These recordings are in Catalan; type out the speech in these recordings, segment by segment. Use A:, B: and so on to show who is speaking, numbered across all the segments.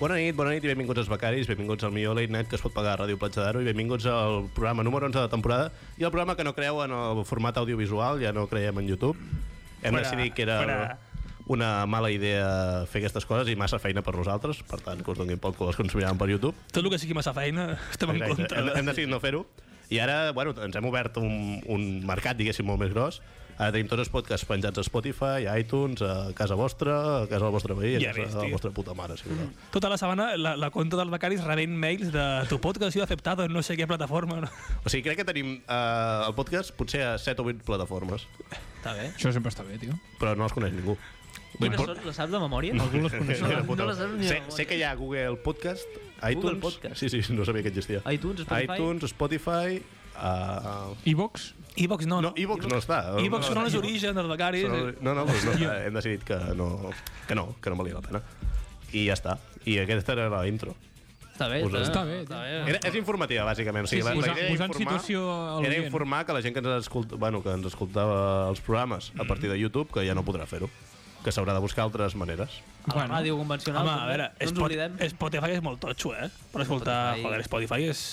A: Bona nit, bona nit i benvinguts als becaris, benvinguts al millor late night que es pot pagar a Ràdio Platja d'Aro i benvinguts al programa número 11 de la temporada i el programa que no creu en el format audiovisual, ja no creiem en YouTube. Hem
B: Fora,
A: decidit que era
B: fora.
A: una mala idea fer aquestes coses i massa feina per nosaltres, per tant que us donin poc que les consumiran per YouTube.
B: Tot el que sigui massa feina, estem en
A: Exacte.
B: contra. eh?
A: Hem, hem decidit no fer-ho. I ara, bueno, ens hem obert un, un mercat, diguéssim, molt més gros. Ara tenim tots els podcasts penjats a Spotify, a iTunes, a casa vostra, a casa del vostre veí, a
B: Ja
A: casa
B: ves,
A: de la
B: tio.
A: vostra puta mare, si voleu.
B: Tota la setmana la, la conta del Becaris rebent mails de tu podcast ha sido aceptado en no sé qué plataforma. No?
A: O sigui, crec que tenim eh, el podcast potser a 7 o 8 plataformes,
B: Està bé.
C: Això sempre està bé, tio.
A: però no els coneix ningú.
D: Quines són? Les saps de memòria? Algú les
A: Coneix la
D: No,
A: puta-
D: no les saps ni de
A: sé,
D: memòria.
A: sé que hi ha Google Podcast, iTunes...
D: Podcast.
A: Sí, sí, no sabia que existia.
D: iTunes, Spotify?
A: iTunes, Spotify... Uh,
C: Evox?
B: Evox no,
A: no,
B: no.
A: Evox no està.
B: Evox són els orígens dels Becaris.
A: Però, no, no, doncs no, hem decidit que no, que no, que no valia la pena. I ja està. I aquesta era la intro.
D: Està bé,
A: Us-
C: Està bé,
D: Està
C: tio.
D: bé.
A: Era, és informativa, bàsicament. O sigui,
C: Sí,
A: la,
C: sí,
A: la
C: posar-
A: idea era
C: posar en
A: informar-
C: situació a
A: era
C: l'oient.
A: informar que la gent que ens, escolta, bueno, que ens escoltava els programes
C: Mm-hmm.
A: a partir de YouTube, que ja no podrà fer-ho, que s'haurà de buscar altres maneres.
D: A la ràdio convencional.
B: Home, a
D: també.
B: veure,
D: no ens
B: Spot,
D: oblidem.
B: Spotify és molt totxo, eh? Per escoltar,
D: Spotify-
B: joder, Spotify és...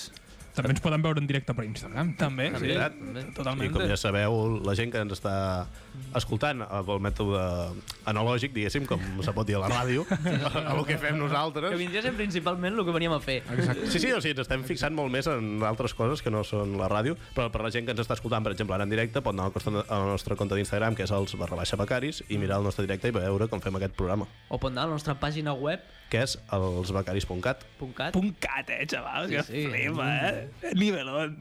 C: També ens poden veure en directe per Instagram. tio.
B: També, sí,
D: veritat.
A: I
B: totalment.
A: com ja sabeu, la gent que ens està
C: Mm-hmm.
A: escoltant amb el mètode analògic, diguéssim, com se pot dir a la ràdio, el que fem nosaltres...
D: Que vindria a ser principalment el que veníem a fer.
C: Exacte.
A: Sí, sí, o sigui, ens estem fixant molt més en altres coses que no són la ràdio, però per la gent que ens està escoltant, per exemple, ara en directe, pot anar al costa- al nostre compte d'Instagram, que és els barra baixa becaris, i mirar el nostre directe i veure com fem aquest programa,
D: O pot anar a la nostra pàgina web.cat.
A: que és elsbecaris.cat.
B: Punt cat, eh, xaval, que
D: Sí, sí.
B: flipa, eh? Nivelón.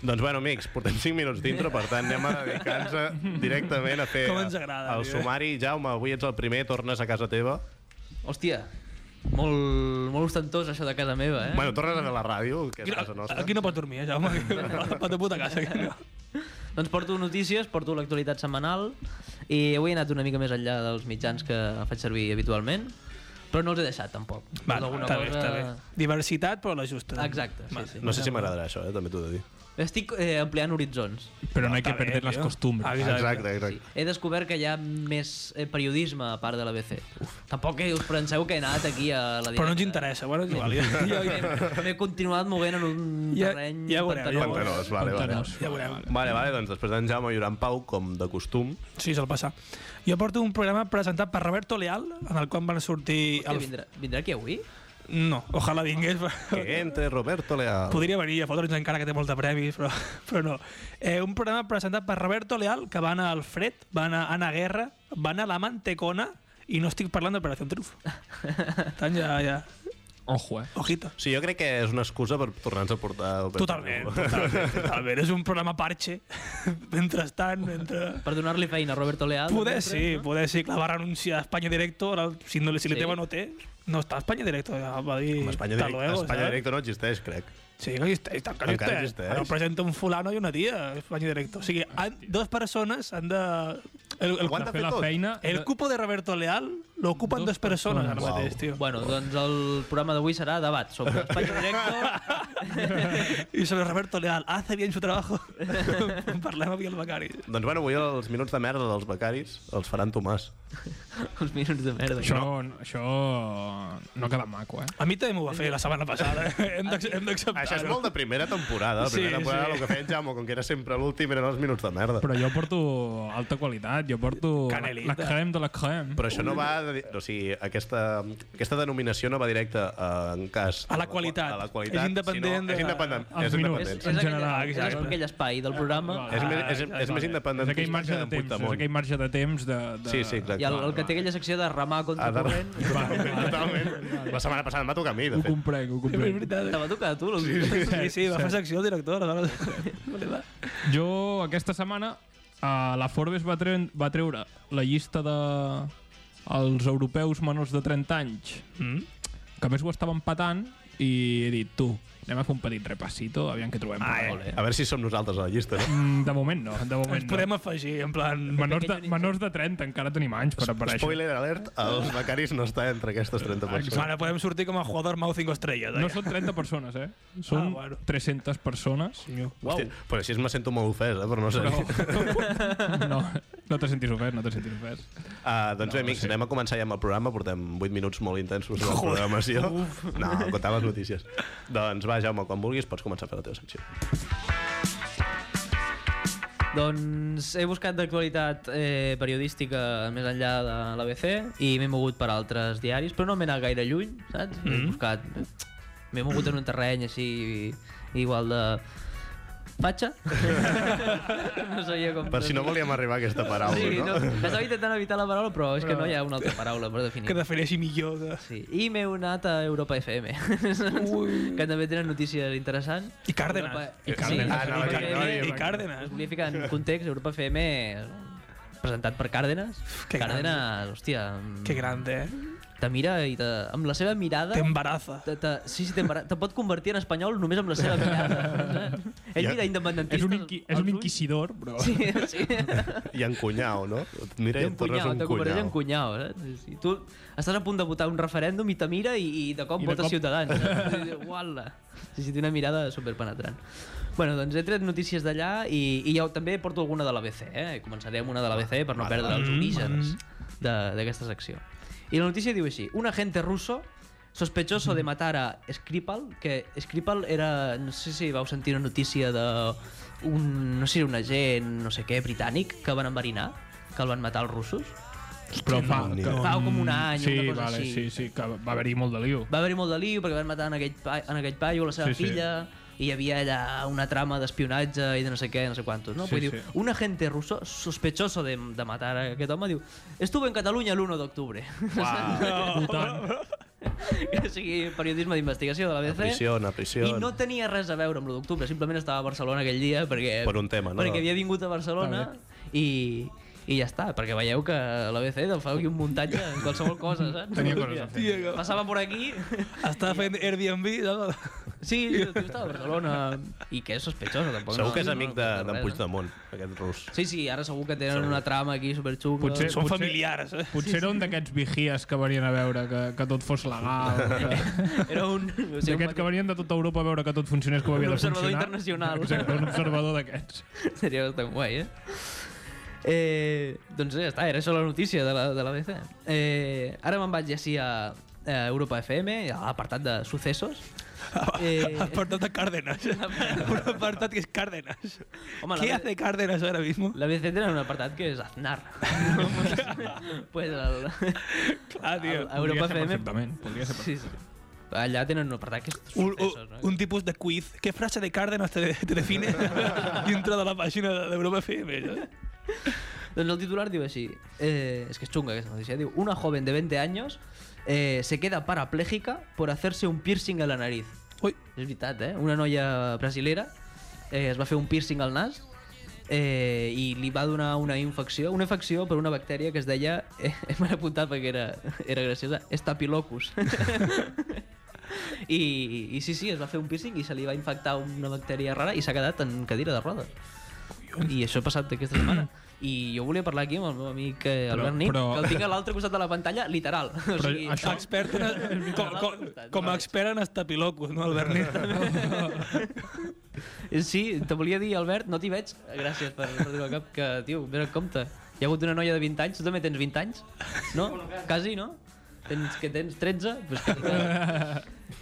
A: Doncs bueno, amics, portem 5 minuts d'intro, per tant anem a dedicar-nos directament a fer
B: Com ens agrada,
A: el
B: tio. Eh?
A: sumari. Jaume, avui ets el primer, tornes a casa teva.
D: Hòstia, molt, molt ostentós això de casa meva, eh?
A: Bueno, tornes a fer la ràdio, que és casa nostra.
B: Aquí no pot dormir, eh, Jaume. Pot de puta casa, aquí no.
D: Doncs porto notícies, porto l'actualitat setmanal i avui he anat una mica més enllà dels mitjans que faig servir habitualment, però no els he deixat tampoc.
B: Val,
D: Alguna
B: està bé, està bé. Diversitat, però la justa.
D: Exacte, sí, sí.
A: No sé si m'agradarà això, eh? també t'ho he de dir.
D: Estic eh, ampliant horitzons.
C: Però no hay
B: Està
C: que
B: bé,
C: perder las
B: tio.
C: costumbres.
B: Exacte.
A: Exacte, exacte.
D: He descobert que hi ha més eh, periodisme a part de l'ABC. Tampoc eh, us penseu que he anat aquí a la directa.
B: Però no ens interessa, bueno, és igual. Ja, ja, ja,
D: M'he- M'he continuat movent en un
B: Ja-
D: terreny
B: ja veurem, ja veurem.
D: pantanós.
A: Pantanós, vale, vale.
C: Pantanós.
B: ja veurem.
A: Vale, vale, doncs després d'en Jaume hi haurà en Pau, com de costum.
B: Sí, se'l passa. Jo porto un programa presentat per Roberto Leal, en el qual van sortir...
D: Hòstia, vindrà, vindrà aquí avui?
B: No, ojalà vingués. però-
A: Que entre Roberto Leal.
B: Podria venir a fotre'ns encara que té molts de premis, però, però no. Eh, un programa presentat per Roberto Leal, que va anar al Fred, va anar a Ana Guerra, va anar a la Mantecona, i no estic parlant d'Operació Triunfo. Tant ja, ja...
C: Ojo, eh?
B: Ojito.
A: Sí, jo crec que és una excusa per tornar-nos a portar...
B: Totalment, totalment, totalment. És un programa parche. Mentrestant, mentre...
D: Per donar-li feina a Roberto Leal? doncs,
B: Poder sí, poder sí, que la va renunciar a Espanya Directo, ara, si, no, si sí.
D: Sí.
B: l'Itema no té, no està a Espanya Directo, ja va dir...
A: Amb Espanya,
B: hasta
A: direct,
B: luego,
A: Espanya
B: saps?
A: Directo no existeix, crec.
B: Sí, que existeix, tant que
A: Encara
B: existeix.
A: existeix.
B: Ara ho presenta un fulano i una tia, Espanya Directo. O sigui, han, dos persones han de... El, el,
A: Ho han de
C: Fer la
A: tot.
C: feina... eh,
B: el cupo de Roberto Leal l'ocupen
C: Dos
B: dos persones ara
A: persones.
B: mateix,
A: Uau.
B: tio.
D: Bueno, doncs el programa d'avui serà debat sobre Espanya Directo.
B: I sobre Roberto Leal, hace bien su trabajo. Parlem avui al becari.
A: Doncs bueno, avui els minuts de merda dels becaris els faran Tomàs.
D: Uns minuts de merda.
C: Això, això no queda maco, eh?
B: A mi també m'ho va fer la setmana passada. eh? Hem d'ac- hem d'acceptar-ho.
A: Això és molt de primera temporada. La
B: Sí,
A: primera temporada
B: sí.
A: el que feia en Jaume, com que era sempre l'últim, eren els minuts de merda. Però,
C: Però jo porto alta qualitat, jo porto la,
B: Canelita.
C: la creme de la creme.
A: però això no va... De, o sigui, aquesta, aquesta denominació no va directa eh, en cas...
B: A la qualitat.
A: A la qualitat.
B: És
A: sinó-
B: independent de-
A: És independent.
C: als
A: És
C: minuts.
A: independent.
D: És,
C: En
D: és,
C: general,
D: aquell, és
C: exacte.
D: aquell espai del programa.
A: És, més, és, és més
C: Ah, Vale.
A: independent
C: És aquell marge de temps, és aquell marge de temps de... de...
A: Sí, sí, exacte.
D: I el, el que té aquella secció de remar contra
A: Ah,
D: el
A: de-
D: corrent...
A: Totalment. La setmana passada em va tocar a mi, de
C: Ho
A: fet.
C: comprenc, ho
B: És
C: comprenc.
B: veritat.
D: Te va tocar a tu, l'últim.
B: Sí, sí, va fer secció el director. aleshores. Vale, va.
C: Jo aquesta setmana a la Forbes va, tre va treure la llista de els europeus menors de 30 anys
B: Mm.
C: que a més ho estava empatant i he dit, tu, anem a fer un petit repassito aviam què trobem.
B: Ai.
C: Molt bé.
A: A veure si som nosaltres a la llista, no?
C: Mm, de moment no, de moment
B: Ens podem afegir, en plan...
C: no. Menors de, menors de 30, encara tenim anys per aparèixer.
A: Spoiler alert, els becaris no està entre aquestes 30 persones.
B: Ara podem sortir com a jugador Mau 5 estrelles.
C: No són 30 persones, eh? Són
B: Ah, bueno.
C: 300 persones.
A: Hòstia, però així me sento molt ofès, eh? Però no sé.
C: No. no. No te sentis ofès, no te sentis ofès.
A: Uh, doncs bé, amics, anem a començar ja amb el programa. Portem 8 minuts molt intensos de programació. No, contava les notícies. doncs va, Jaume, quan vulguis pots començar a fer la teva secció.
D: Doncs he buscat d'actualitat eh, periodística més enllà de l'ABC i m'he mogut per altres diaris, però no m'he anat gaire lluny, saps? Mm -hmm. He buscat... M'he mogut en un terreny així igual de... Patxa? no sabia com...
A: Per si no volíem arribar a aquesta paraula,
D: Sí, no,
A: no?
D: estava intentant evitar la paraula, però és que no hi ha una altra paraula per definir.
B: que defineixi millor de...
D: Sí. I m'he anat a Europa FM, que també tenen notícies interessants.
B: I Cárdenas.
D: I
C: Cárdenas.
A: Ah, no,
D: Europa
A: no, no,
D: FM.
A: no,
B: I Cárdenas.
D: Us volia ficar en context, Europa FM presentat per Cárdenas.
B: que gran.
D: Cárdenas, hòstia, mm,
B: Que grande, eh?
D: te mira i te, amb la seva mirada...
B: T'embaraza.
D: Te, te, sí, sí, t'embara- te pot convertir en espanyol només amb la seva mirada. Eh? Ell
A: Ja.
D: mira independentista.
C: És un, inqui és un inquisidor, però...
D: Sí, sí.
A: I en cunyau, no? Mira,
D: Té un
A: Torres
D: cunyau,
A: un
D: te converteix en
A: cunyau.
D: cunyau. Eh? Sí, sí. Tu estàs a punt de votar un referèndum i te mira i, i de cop
C: I de
D: vota
C: cop-
D: Ciutadans. Eh? Uala. Sí, sí, té una mirada superpenetrant. Bueno, doncs he tret notícies d'allà i, i ja també porto alguna de l'ABC. Eh? Començaré amb una de l'ABC per no
A: Vale,
D: perdre
A: vale.
C: Mm-hmm.
D: els orígens de- d'aquesta secció. I la notícia diu així. Un agente russo sospechoso
C: Mm-hmm.
D: de matar a Skripal, que Skripal era, no sé si vau sentir una notícia de un, no sé si era un agent, no sé què, britànic, que van enverinar, que el van matar els russos.
C: Però fa...
A: no, ni
C: que-
A: idea.
D: Fa com un any,
C: sí,
D: una cosa
C: vale,
D: així.
C: Sí, sí, que va haver-hi molt de lío.
D: Va haver-hi molt de lío perquè van matar en aquell, pa, en aquell paio la seva
C: Sí, sí.
D: filla i hi havia allà una trama d'espionatge i de no sé què, no sé quantos, no?
C: Sí,
D: Vull dir,
C: sí.
D: un agente russo sospechoso de, de matar a aquest home diu «Estuve en Catalunya l'1 d'octubre».
C: Wow. Putant.
D: o sigui, periodisme d'investigació de la
A: A
D: BBC.
A: prisió, a prisió.
D: Eh? I no tenia res a veure amb l'1 d'octubre, simplement estava a Barcelona aquell dia perquè,
A: Per un tema, no?
D: perquè havia vingut a Barcelona i, i ja està, perquè veieu que l'ABC del fa aquí un muntatge en qualsevol cosa, saps?
C: Tenia coses a fer.
D: Hòstia, que- Passava per aquí...
B: Està fent Airbnb, no?
D: Sí, el tio estava a Barcelona i que és sospechós, tampoc.
A: Segur
D: no-
A: que és
D: no-
A: amic
D: no
A: de-
D: res,
A: d'en
D: eh?
A: Puigdemont, aquest rus.
D: Sí, sí, ara segur que tenen
A: Segur.
D: una trama aquí superxunga.
C: Potser-
B: Són familiars, eh?
C: Potser era un d'aquests vigies que venien a veure que, que tot fos legal. Que...
D: Era un... O sigui, un
C: D'aquests que venien de tota Europa a veure que tot funcionés com havia
D: Un
C: de
D: observador
C: funcionar.
D: internacional.
C: Exacte, un observador d'aquests.
D: Seria bastant guai, eh? eh doncs ja està, era això la notícia de la, de la BC. Eh, ara me'n vaig així a, a Europa FM, a l'apartat de successos. Eh,
B: Apartat de Cárdenas. Un apartat que és Cárdenas.
D: Home, la
B: ¿Qué
D: ve-
B: hace Cárdenas ahora mismo?
D: la BC tenen un apartat que és Aznar. pues, pues el,
B: Clar, Ah, tio.
D: el, a Europa
C: Podria ser
D: FM...
C: perfectament, podria ser
D: Sí, sí. Allà tenen un apartat que és
B: Un,
D: successos, no?
B: un tipus de quiz. Què frase de Cárdenas te, te define dintre de la pàgina d'Europa FM? saps?
D: Doncs el titular diu així, eh, és que és xunga aquesta notícia, diu, una joven de 20 años eh, se queda parapléjica por hacerse un piercing a la nariz.
B: Ui,
D: És veritat, eh? Una noia brasilera eh, es va fer un piercing al nas eh, i li va donar una infecció, una infecció per una bactèria que es deia, eh, m'han apuntat perquè era, era graciosa, Staphylococcus. I, I sí, sí, es va fer un piercing i se li va infectar una bactèria rara i s'ha quedat en cadira de rodes. I això ha passat aquesta setmana. I jo volia parlar aquí amb el meu amic eh, Albert Nin,
C: però-
D: que el tinc a l'altre costat de la pantalla, literal. o
C: Però
D: sigui,
C: això-
B: expert en, com, com, com a expert en estapilocos, no, Albert Nil?
D: Sí, te volia dir, Albert, no t'hi veig. Gràcies per reduir el cap, que, tio, vés en compte. Hi ha hagut una noia de 20 anys, tu també tens 20 anys? No? Quasi, no? Tens, que tens 13? Pues que,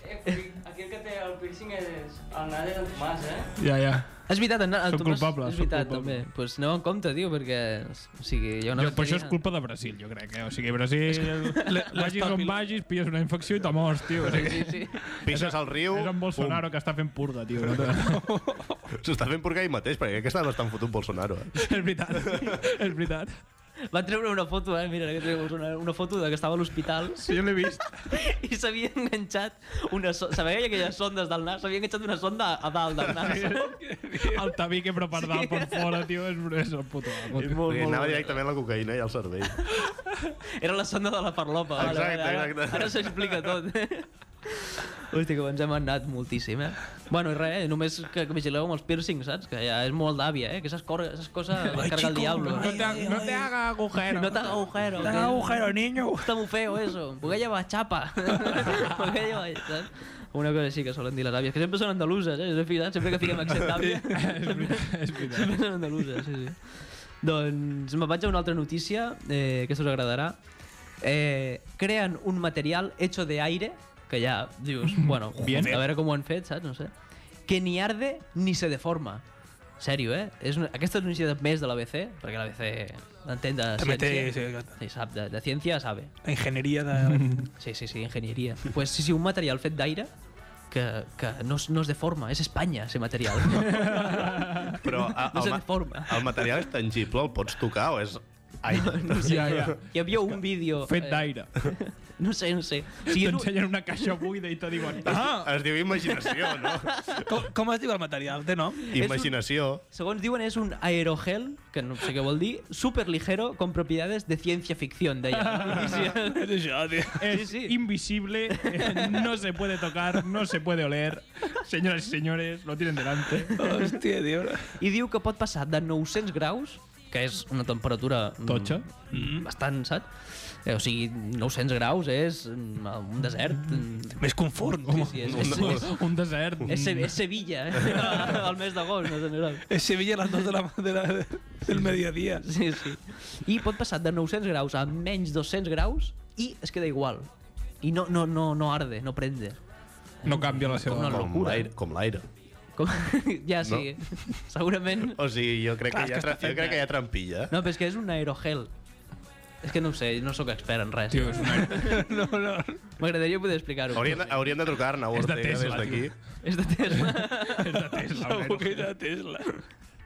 E: Eh, Fui, aquí el que té el piercing és el nas és en Tomàs, eh?
C: Ja, ja.
D: és veritat, en, en
C: Sóc
D: Tomàs,
C: culpable,
D: és
C: sóc
D: veritat,
C: culpable.
D: també. Doncs pues aneu en compte, tio, perquè... O sigui, hi ha una
C: Jo, però això és
D: bacteria.
C: culpa de Brasil, jo crec. Eh? O sigui, Brasil, vagis on
B: l'estapil-
C: vagis, pilles una infecció i te mors, tio. O sigui,
D: Sí, sí.
A: Pixes al riu...
C: és en Bolsonaro que està fent purda, tio. No? és
A: pum, S'està fent purgar ell mateix, perquè aquesta no estan fotent Bolsonaro. Eh?
C: veritat, és veritat.
D: Van treure una foto, eh? Mira, que treus una, una foto de que estava a l'hospital
C: Sí, jo l'he vist.
D: i s'havia enganxat una... So se veia aquelles sondes del nas, s'havia enganxat una sonda a dalt del nas.
C: El tabique però per dalt, per fora, tio, és, és el puto amo. tio.
A: Perquè anava directament la cocaïna i al cervell.
D: Era la sonda de la parlopa. Vale,
A: Exacte,
D: vale, ara-
A: exacte.
D: Ara s'explica tot. Hòstia, que ens hem anat moltíssim, eh? Bueno, i res, eh? només que vigileu amb els piercings, saps? Que ja és molt d'àvia, eh? Que aquestes cor- aquestes coses les carga el
B: chico,
D: diablo.
C: No te, no te haga agujero.
D: No te haga agujero.
B: Tan agujero, niño.
D: Está muy feo eso. Porque lleva chapa. Porque lleva... saps? Una cosa així que solen dir les àvies, que sempre són andaluses, eh? Us he fixat? Sempre que fiquem accent d'àvia,
C: És veritat, és veritat.
D: sempre són andaluses, sí, sí. doncs me vaig a una altra notícia, eh, que us agradarà. Eh, creen un material hecho de aire, que ja dius, bueno,
C: Bien.
D: a veure com ho han fet, saps? No sé. Que ni arde ni se deforma. Sèrio, eh? És una, aquesta és una notícia més de l'ABC, perquè l'ABC entén de
B: També té...
D: ciència.
B: Sí, exacte.
D: Sí, sap, de, de ciència sabe.
B: la enginyeria de...
D: Sí, sí, sí, enginyeria. pues sí, sí, un material fet d'aire que, que no, es- no es deforma, és Espanya, ese material.
A: Però a,
D: No
A: el,
D: se
A: ma-
D: deforma.
A: el material és tangible, el pots tocar o és... Ai,
D: No sé,
C: Ja, ja.
D: Hi havia un vídeo...
C: Fet
D: eh,
C: d'aire.
D: No sé, no sé. O sigui, és un-
C: T'ensenyen una caixa buida i te diuen...
B: Ah,
A: es diu imaginació, no?
B: com, com es diu el material? Té nom?
A: Imaginació.
D: segons diuen, és un aerogel, que no sé què vol dir, superligero, con propiedades de ciència-ficció, deia. la notícia.
B: És això, tio.
C: Es
D: sí.
C: invisible, eh, no se puede tocar, no se puede oler. Señoras y señores, lo tienen delante.
B: Hòstia, tio.
D: I diu que pot passar de 900 graus, que és una temperatura... mm,
C: Totxa.
D: mm, Bastant, saps? Eh, o sigui, 900 graus és mm, un desert. mm,
B: Més confort.
D: Sí,
B: home.
D: sí, és,
A: no,
D: és,
A: no.
D: és,
C: pues, Un mm, desert.
D: És, Se és Sevilla, eh? al mes d'agost, en general.
B: És Sevilla a les 2 de la, de la, del mediodía.
D: Sí, sí. I pot passar de 900 graus a menys 200 graus i es queda igual. I no, no, no, no arde, no prende.
C: No canvia la seva...
D: Com una
A: Com
D: locura.
A: l'aire. Com l'aire.
D: Com... ja sí, segurament...
A: O sigui, jo crec,
B: Clar,
A: que,
B: és
A: hi ha,
B: que
A: tra-
B: està
A: jo crec que hi ha trampilla.
D: No, però és que és un aerogel. És que no ho sé, no sóc expert en res.
C: Tio, és una...
B: No, no.
D: M'agradaria poder explicar-ho.
A: Hauríem de, hauríem de trucar a Arnau
C: És de
A: Ortega
C: Tesla,
A: des d'aquí.
D: És de Tesla.
C: És de Tesla. un
B: Segur
C: aerogel.
B: que era Tesla.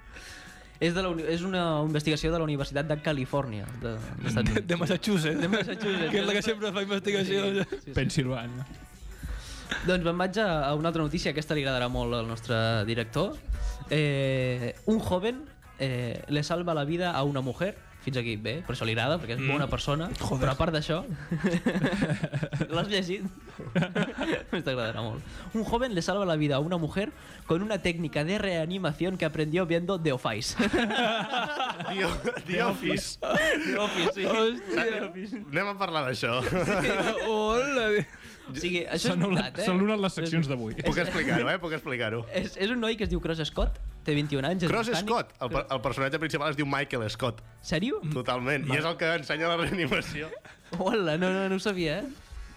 D: és, de la uni... és una investigació de la Universitat de Califòrnia. De, d'Estats
B: De,
D: Units.
B: de Massachusetts. De
D: Massachusetts.
B: Que és la que sempre fa investigació.
D: Sí, sí.
C: Pensilvània.
D: Doncs me'n vaig a a una altra notícia, aquesta li agradarà molt al nostre director. Eh, un joven eh, le salva la vida a una mujer, fins aquí bé, per això li agrada, perquè és bona persona,
B: Joder.
D: però a part d'això... L'has llegit? T'agradarà molt. Un joven le salva la vida a una mujer con una técnica de reanimación que aprendió viendo The Office.
A: Tio, The Office.
D: The Office, sí.
B: Hòstia.
A: Anem a parlar d'això.
B: Hola. tio.
D: O sigui, això és
C: S'han anul·lat-
D: veritat, eh?
C: s'han anul·lat les seccions d'avui.
A: Puc explicar-ho, eh? Puc explicar-ho.
D: És, és un noi que es diu Cross Scott, té 21 anys, és
A: Cross
D: britànic.
A: Scott. El, per- el personatge principal es diu Michael Scott.
D: Sèrio?
A: Totalment. I és el que ensenya la reanimació.
D: Hola, no, no, no ho sabia, eh?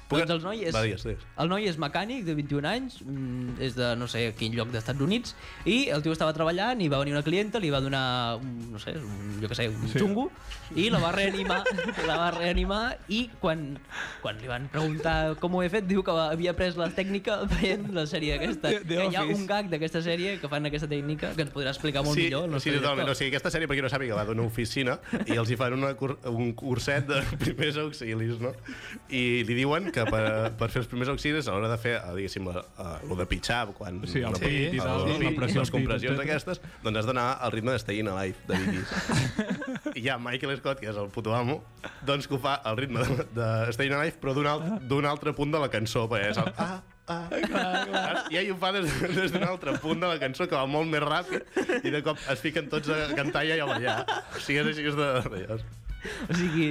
A: Puc-
D: Doncs el noi és...
A: Va, digues, digues.
D: El noi és mecànic, de 21 anys, mm, és de no sé quin lloc d'Estats Units, i el tio estava treballant i va venir una clienta, li va donar, un, no sé, un, jo què sé, un
C: Sí.
D: xungo, i la va reanimar, la va reanimar, i quan, quan li van preguntar com ho he fet, diu que va- havia pres la tècnica veient la sèrie aquesta.
B: The- The
D: que hi ha
B: Office.
D: un gag d'aquesta sèrie que fan aquesta tècnica, que ens podrà explicar molt
A: sí,
D: millor. el
A: sí,
D: nostre
A: totalment. O
D: director.
A: sigui, aquesta sèrie, per qui no sàpiga, va d'una oficina i els hi fan una cur un curset de primers auxilis, no? I li diuen que per, per fer els primers auxilis, a l'hora de fer, eh, diguéssim, el de pitxar, quan...
C: Sí, el
A: la-
C: pit
A: el-
C: i tal,
A: la
C: la pressió al
A: les
C: pit,
A: compressions
C: etcètera.
A: aquestes, doncs has d'anar al ritme de Stayin' Alive, de Biggie. I hi ha Michael Scott, que és el puto amo, doncs que ho fa al ritme de, de Stayin' Alive, però d'un alt, d'un altre punt de la cançó, perquè és el... Ah, Ah, Saps? I ell ho fa des, des d'un altre punt de la cançó que va molt més ràpid i de cop es fiquen tots a cantar i a ballar. O sigui, és així és de... de
D: O sigui,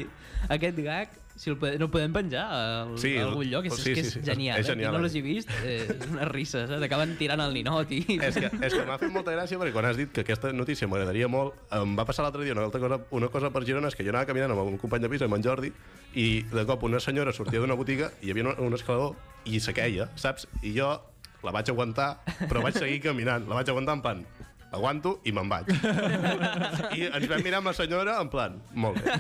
D: aquest gag, si el podem, no el podem penjar al,
A: Sí,
D: sí, a algun lloc, és, sí, que és sí, sí. genial.
A: És genial,
D: Eh? Qui no
A: eh?
D: l'hagi vist, eh, és una risa, saps? Acaben tirant el ninot i...
A: és que, és que m'ha fet molta gràcia perquè quan has dit que aquesta notícia m'agradaria molt, em va passar l'altre dia una, altra cosa, una cosa per Girona, és que jo anava caminant amb un company de pis, amb en Jordi, i de cop una senyora sortia d'una botiga i hi havia un, un escalador i se queia, saps? I jo la vaig aguantar, però vaig seguir caminant. La vaig aguantar en plan, aguanto i me'n vaig. I ens vam mirar amb la senyora en plan, molt bé.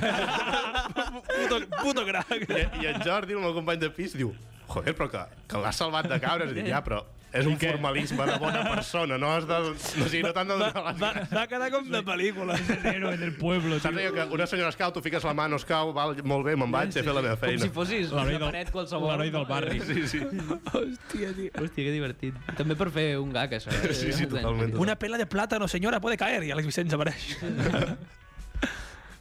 B: Puto, puto crac.
A: I, I en Jordi, el meu company de pis, diu joder, però que, que l'has salvat de cabres. I dic, ja, però és un formalisme de bona persona, no has de... O sigui, no t'han de donar les
B: Va,
A: gràcies.
B: va quedar com de pel·lícula.
C: Héroe del pueblo,
A: Saps allò que una senyora es cau, tu fiques la mà, no es cau, val, molt bé, me'n vaig, he fet la meva
D: Com
A: feina.
D: si fossis una
C: L'heroi del-
D: paret qualsevol. Eh,
C: l'heroi del barri.
A: Sí, sí.
B: Hòstia, tio.
D: Hòstia, que divertit. També per fer un gag, això. Eh?
A: Sí, sí, totalment.
B: Una pela de plátano, senyora, puede caer. I Àlex Vicenç apareix.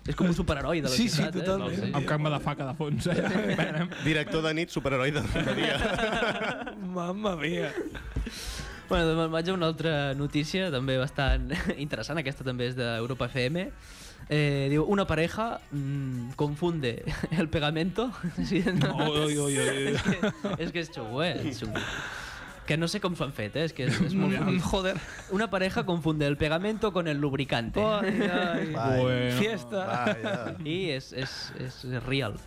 D: És com un superheroi de la
B: Sí, sí,
D: ciutat,
B: totalment.
D: eh?
C: Amb cama de faca de fons. Eh?
A: Director de nit, superheroi de de dia.
B: Mamma mia.
D: Bueno, doncs me'n vaig a una altra notícia, també bastant interessant, aquesta també és d'Europa FM. Eh, diu, una pareja mm, confunde el pegamento. Sí, no?
B: Oi, oi, oi, oi.
D: és, que, és que és xungo, eh? És xungo. Que no sé com s'ho han fet, eh? És que és, és molt...
B: Mm, joder.
D: Una pareja confunde el pegamento con el lubricante.
B: Ai, ai.
A: Bueno.
B: Fiesta.
A: Vaja.
D: I és, és, és, és real.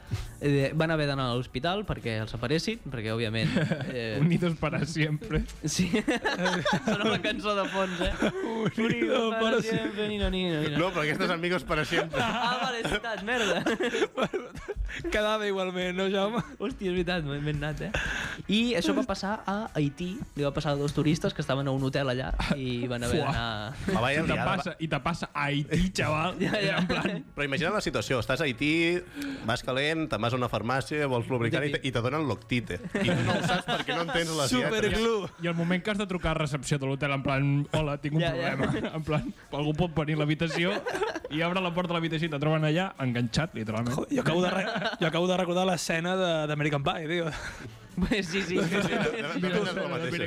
D: Eh, van haver d'anar a l'hospital perquè els aparessin, perquè, òbviament... Eh,
C: Unidos para siempre.
D: Sí. Sona una cançó de fons, eh? Unido
B: para
D: para
B: siempre.
D: siempre, nino, nino, nino.
A: No, però aquestes amigos para sempre.
D: Ah, vale, és veritat, merda.
B: Quedava igualment, no, Jaume?
D: Hòstia, és veritat, m'he m'he anat, eh? I això va passar a Haití. Li va passar a dos turistes que estaven a un hotel allà i van haver
C: Fuà.
D: d'anar...
A: La
C: I
A: vaia
C: te
A: liada.
C: passa, i te passa a Haití, xaval.
D: Ja, ja.
C: En plan,
A: Però imagina la situació, estàs a Haití, vas calent, te'n vas a una farmàcia, vols lubricant i te, i te donen l'octite. I tu no ho saps perquè no entens les lletres.
B: Superglue.
C: I el moment que has de trucar a recepció de l'hotel, en plan, hola, tinc un
D: Ja,
C: ja,
D: ja.
C: problema. Ja. En plan, algú pot venir a l'habitació i obre la porta de l'habitació i te troben allà enganxat, literalment.
B: Jo acabo de, re- jo acabo de recordar l'escena de- d'American Pie, tio.
D: Pues sí, sí. sí, sí.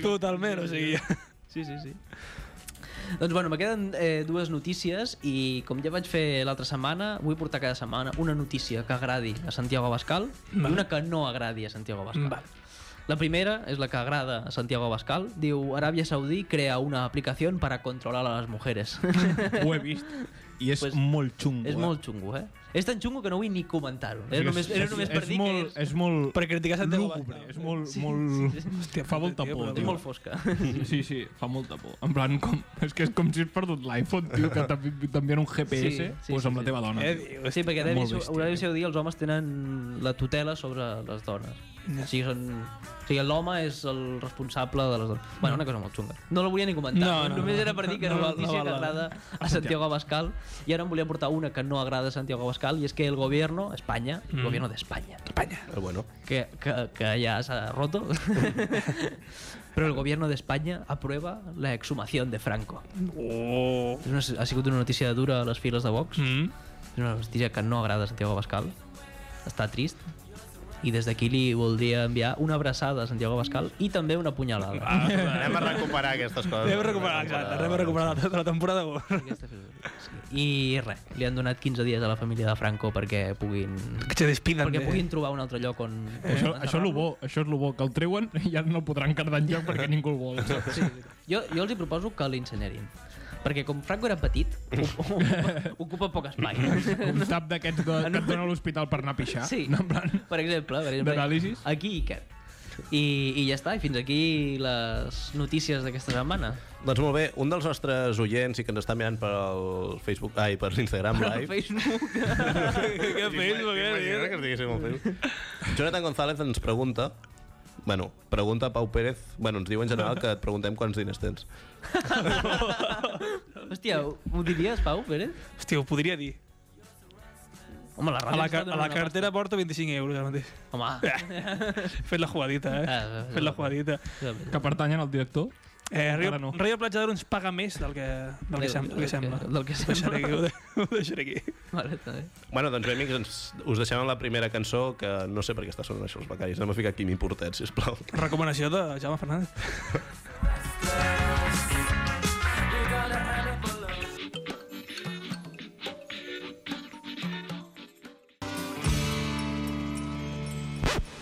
B: Totalment, o sigui...
D: Sí, sí, sí. Doncs bueno, me queden eh, dues notícies i com ja vaig fer l'altra setmana, vull portar cada setmana una notícia que agradi a Santiago Abascal i una que no agradi a Santiago Abascal.
B: Val.
D: La primera és la que agrada a Santiago Abascal. Diu, Aràbia Saudí crea una aplicació para controlar a les mujeres.
C: Ho he vist. I és
D: Pues,
C: pues, molt xungo.
D: és
C: eh?
D: molt xungo, eh? És tan xungo que no vull ni comentar-ho. Era només, era només per
C: és
D: dir
C: molt,
D: que és...
C: És molt...
B: Per criticar Santiago
C: lúgubre,
B: Abascal.
C: És molt... molt... Hòstia, fa molta
B: tio,
C: por,
B: però-
D: És
C: tio.
D: molt fosca.
C: Sí, sí, fa molta por. En plan, com, és que és com si has perdut l'iPhone, tio, que t'envi- t'envien un GPS
D: Sí,
C: sí,
D: sí,
C: sí, pues amb
D: sí,
C: la teva dona.
B: Què
C: tio.
B: Eh, dius?
D: Sí, perquè a
C: Molt
D: Aràbia,
C: bèstia,
D: Aràbia
C: eh?
D: Saudí els homes tenen la tutela sobre les dones. O sigui, són... O sigui, l'home és el responsable de les dones. Bueno, una cosa molt xunga. No la volia ni comentar. eh?
B: No, no,
D: només
B: no.
D: era per dir que era
B: No
D: una
B: val, no
D: notícia
B: val,
D: que
B: val.
D: agrada a Santiago Abascal. I ara em volia portar una que no agrada a Santiago Abascal, i és que el gobierno, Espanya,
B: Mm.
D: el gobierno d'Espanya,
A: Però bueno,
D: que, que, que ya se ha roto. Pero el gobierno de España aprueba la exhumación de Franco. Oh. És una, ha sigut una notícia dura a les files de Vox.
B: Mm.
D: És una notícia que no agrada a Santiago Abascal. Està trist. I des d'aquí li voldria enviar una abraçada a Santiago Abascal i també una punyalada.
C: Ah.
A: anem a recuperar aquestes coses.
B: Anem a recuperar, exacte, anem a recuperar la, la temporada 1.
D: Aquesta fes- sí. I res, li han donat 15 dies a la família de Franco perquè puguin,
B: Que te despidan.
D: perquè
B: de-
D: puguin trobar un altre lloc on...
C: Això,
D: eh,
C: això, és lo bo, això és el bo, que el treuen i ja no el podran cardar enlloc perquè ningú el vol.
D: Sí, jo, jo els hi proposo que l'incinerin. Perquè com Franco era petit, ocupa, ocupa poc espai.
C: Un tap d'aquests de, que et dona a l'hospital per anar a pixar.
D: Sí,
C: En plan,
D: per exemple. Per exemple
C: D'anàlisis?
D: Aquí i què. I, I ja està, i fins aquí les notícies d'aquesta setmana.
A: Doncs molt bé, un dels nostres oients i que ens està mirant per el Facebook, ai, per l'Instagram
D: Al
A: Live.
D: Facebook.
B: Què
A: T'imagines
B: fes, què
A: que es diguéssim al Facebook? Jonathan González ens pregunta, bueno, pregunta a Pau Pérez, bueno, ens diu en general que et preguntem quants diners tens.
D: Hòstia, ho- ho diries, Pau, Pérez?
B: Hòstia, ho podria dir.
D: Home, la
B: A
D: ràdio
B: la,
D: ens està
B: car a la
D: donant una
B: cartera porto 25 euros ara mateix.
D: pasta. Home,
B: Fent la jugadita,
D: Ah,
B: eh? Fent la
D: sí.
B: jugadita.
C: que pertanyen al director.
B: Eh, Rio,
C: Ara no.
B: Rio Platja d'Aro ens paga més del que, del que, sem del que sembla.
D: Del que
B: Ho deixaré
D: sembla.
B: aquí, ho de- ho deixaré aquí.
D: Vale, està bé.
A: Bueno, doncs bé, amics, ens, us deixem amb la primera cançó, que no sé per què està sonant això els becaris. Anem a ficar Quimi Portet, sisplau.
B: Recomanació de Jaume Fernández.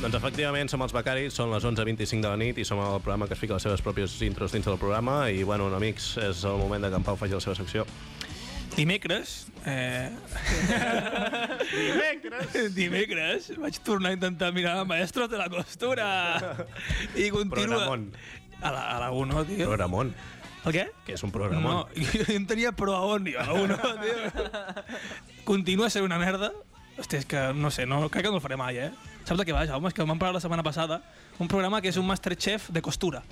A: Doncs efectivament som els becaris, són les 11.25 de la nit i som al programa que es fica les seves pròpies intros dins del programa i, bueno, amics, és el moment de que en Pau faci la seva secció.
B: Dimecres... Eh... dimecres? Dimecres vaig tornar a intentar mirar Maestros de la Costura. I continua...
A: Programón.
B: A la, a la 1, tio.
A: Programón,
B: El què?
A: que és un programón.
B: No, jo en tenia pro a on, a la 1, tio. Continua sent una merda. Hòstia, és que no sé, no, crec que no el faré mai, eh? Saps de què va, Jaume? És que vam parlar la setmana passada un programa que és un Masterchef de costura.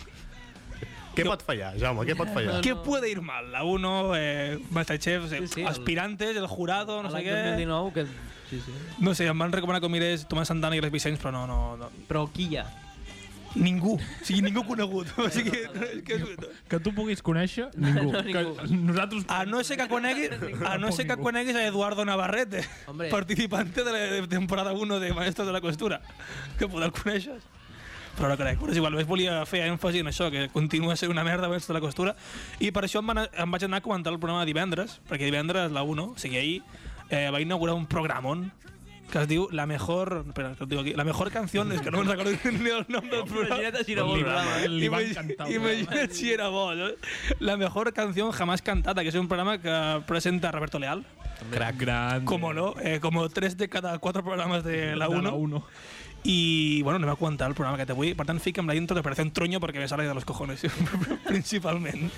A: Què pot fallar, Jaume, què pot fallar?
B: ¿Qué puede ir mal? La 1, eh, Masterchef, eh,
D: Sí, sí, el-
B: aspirantes, el jurado, no
D: A
B: sé
D: l'any
B: què...
D: 2019, que... Sí, sí.
B: No sé, em van recomanar que mirés Tomàs Santana i Greg Vicenç, però no, no, no.
D: Però qui hi ha?
B: Ningú. O sigui, ningú conegut. O sigui, és que és...
C: Que tu puguis conèixer, ningú.
D: No, ningú.
C: Que nosaltres...
B: A no ser que coneguis, a no ser que coneguis a Eduardo Navarrete,
D: Hombre.
B: participante de la temporada 1 de Maestros de la Costura, que poder el conèixer. Però no crec. Però és igual, només volia fer èmfasi en això, que continua sent una merda Maestros de la Costura, i per això em, van, em vaig anar a comentar el programa de divendres, perquè divendres la 1, o sigui, ahir eh, va inaugurar un programon que es diu La mejor... Espera, que ho digo aquí. La mejor canción... És que no me'n recordo ni el nom del programa.
D: Imagina't a Girabol, brava, eh?
C: Li va
B: Imagi-
C: encantar el
B: Imagina't si era bo, no? La mejor canción jamás cantada, que es un programa que presenta Roberto Leal.
C: Crac. Gran.
B: Como no, eh, como tres de cada cuatro programas de la
C: De la
B: 1.
C: 1.
B: I, bueno, anem a comentar el programa que té avui. Per tant, fiquem la intro d'Operació un Truño perquè me sale de los cojones, principalment.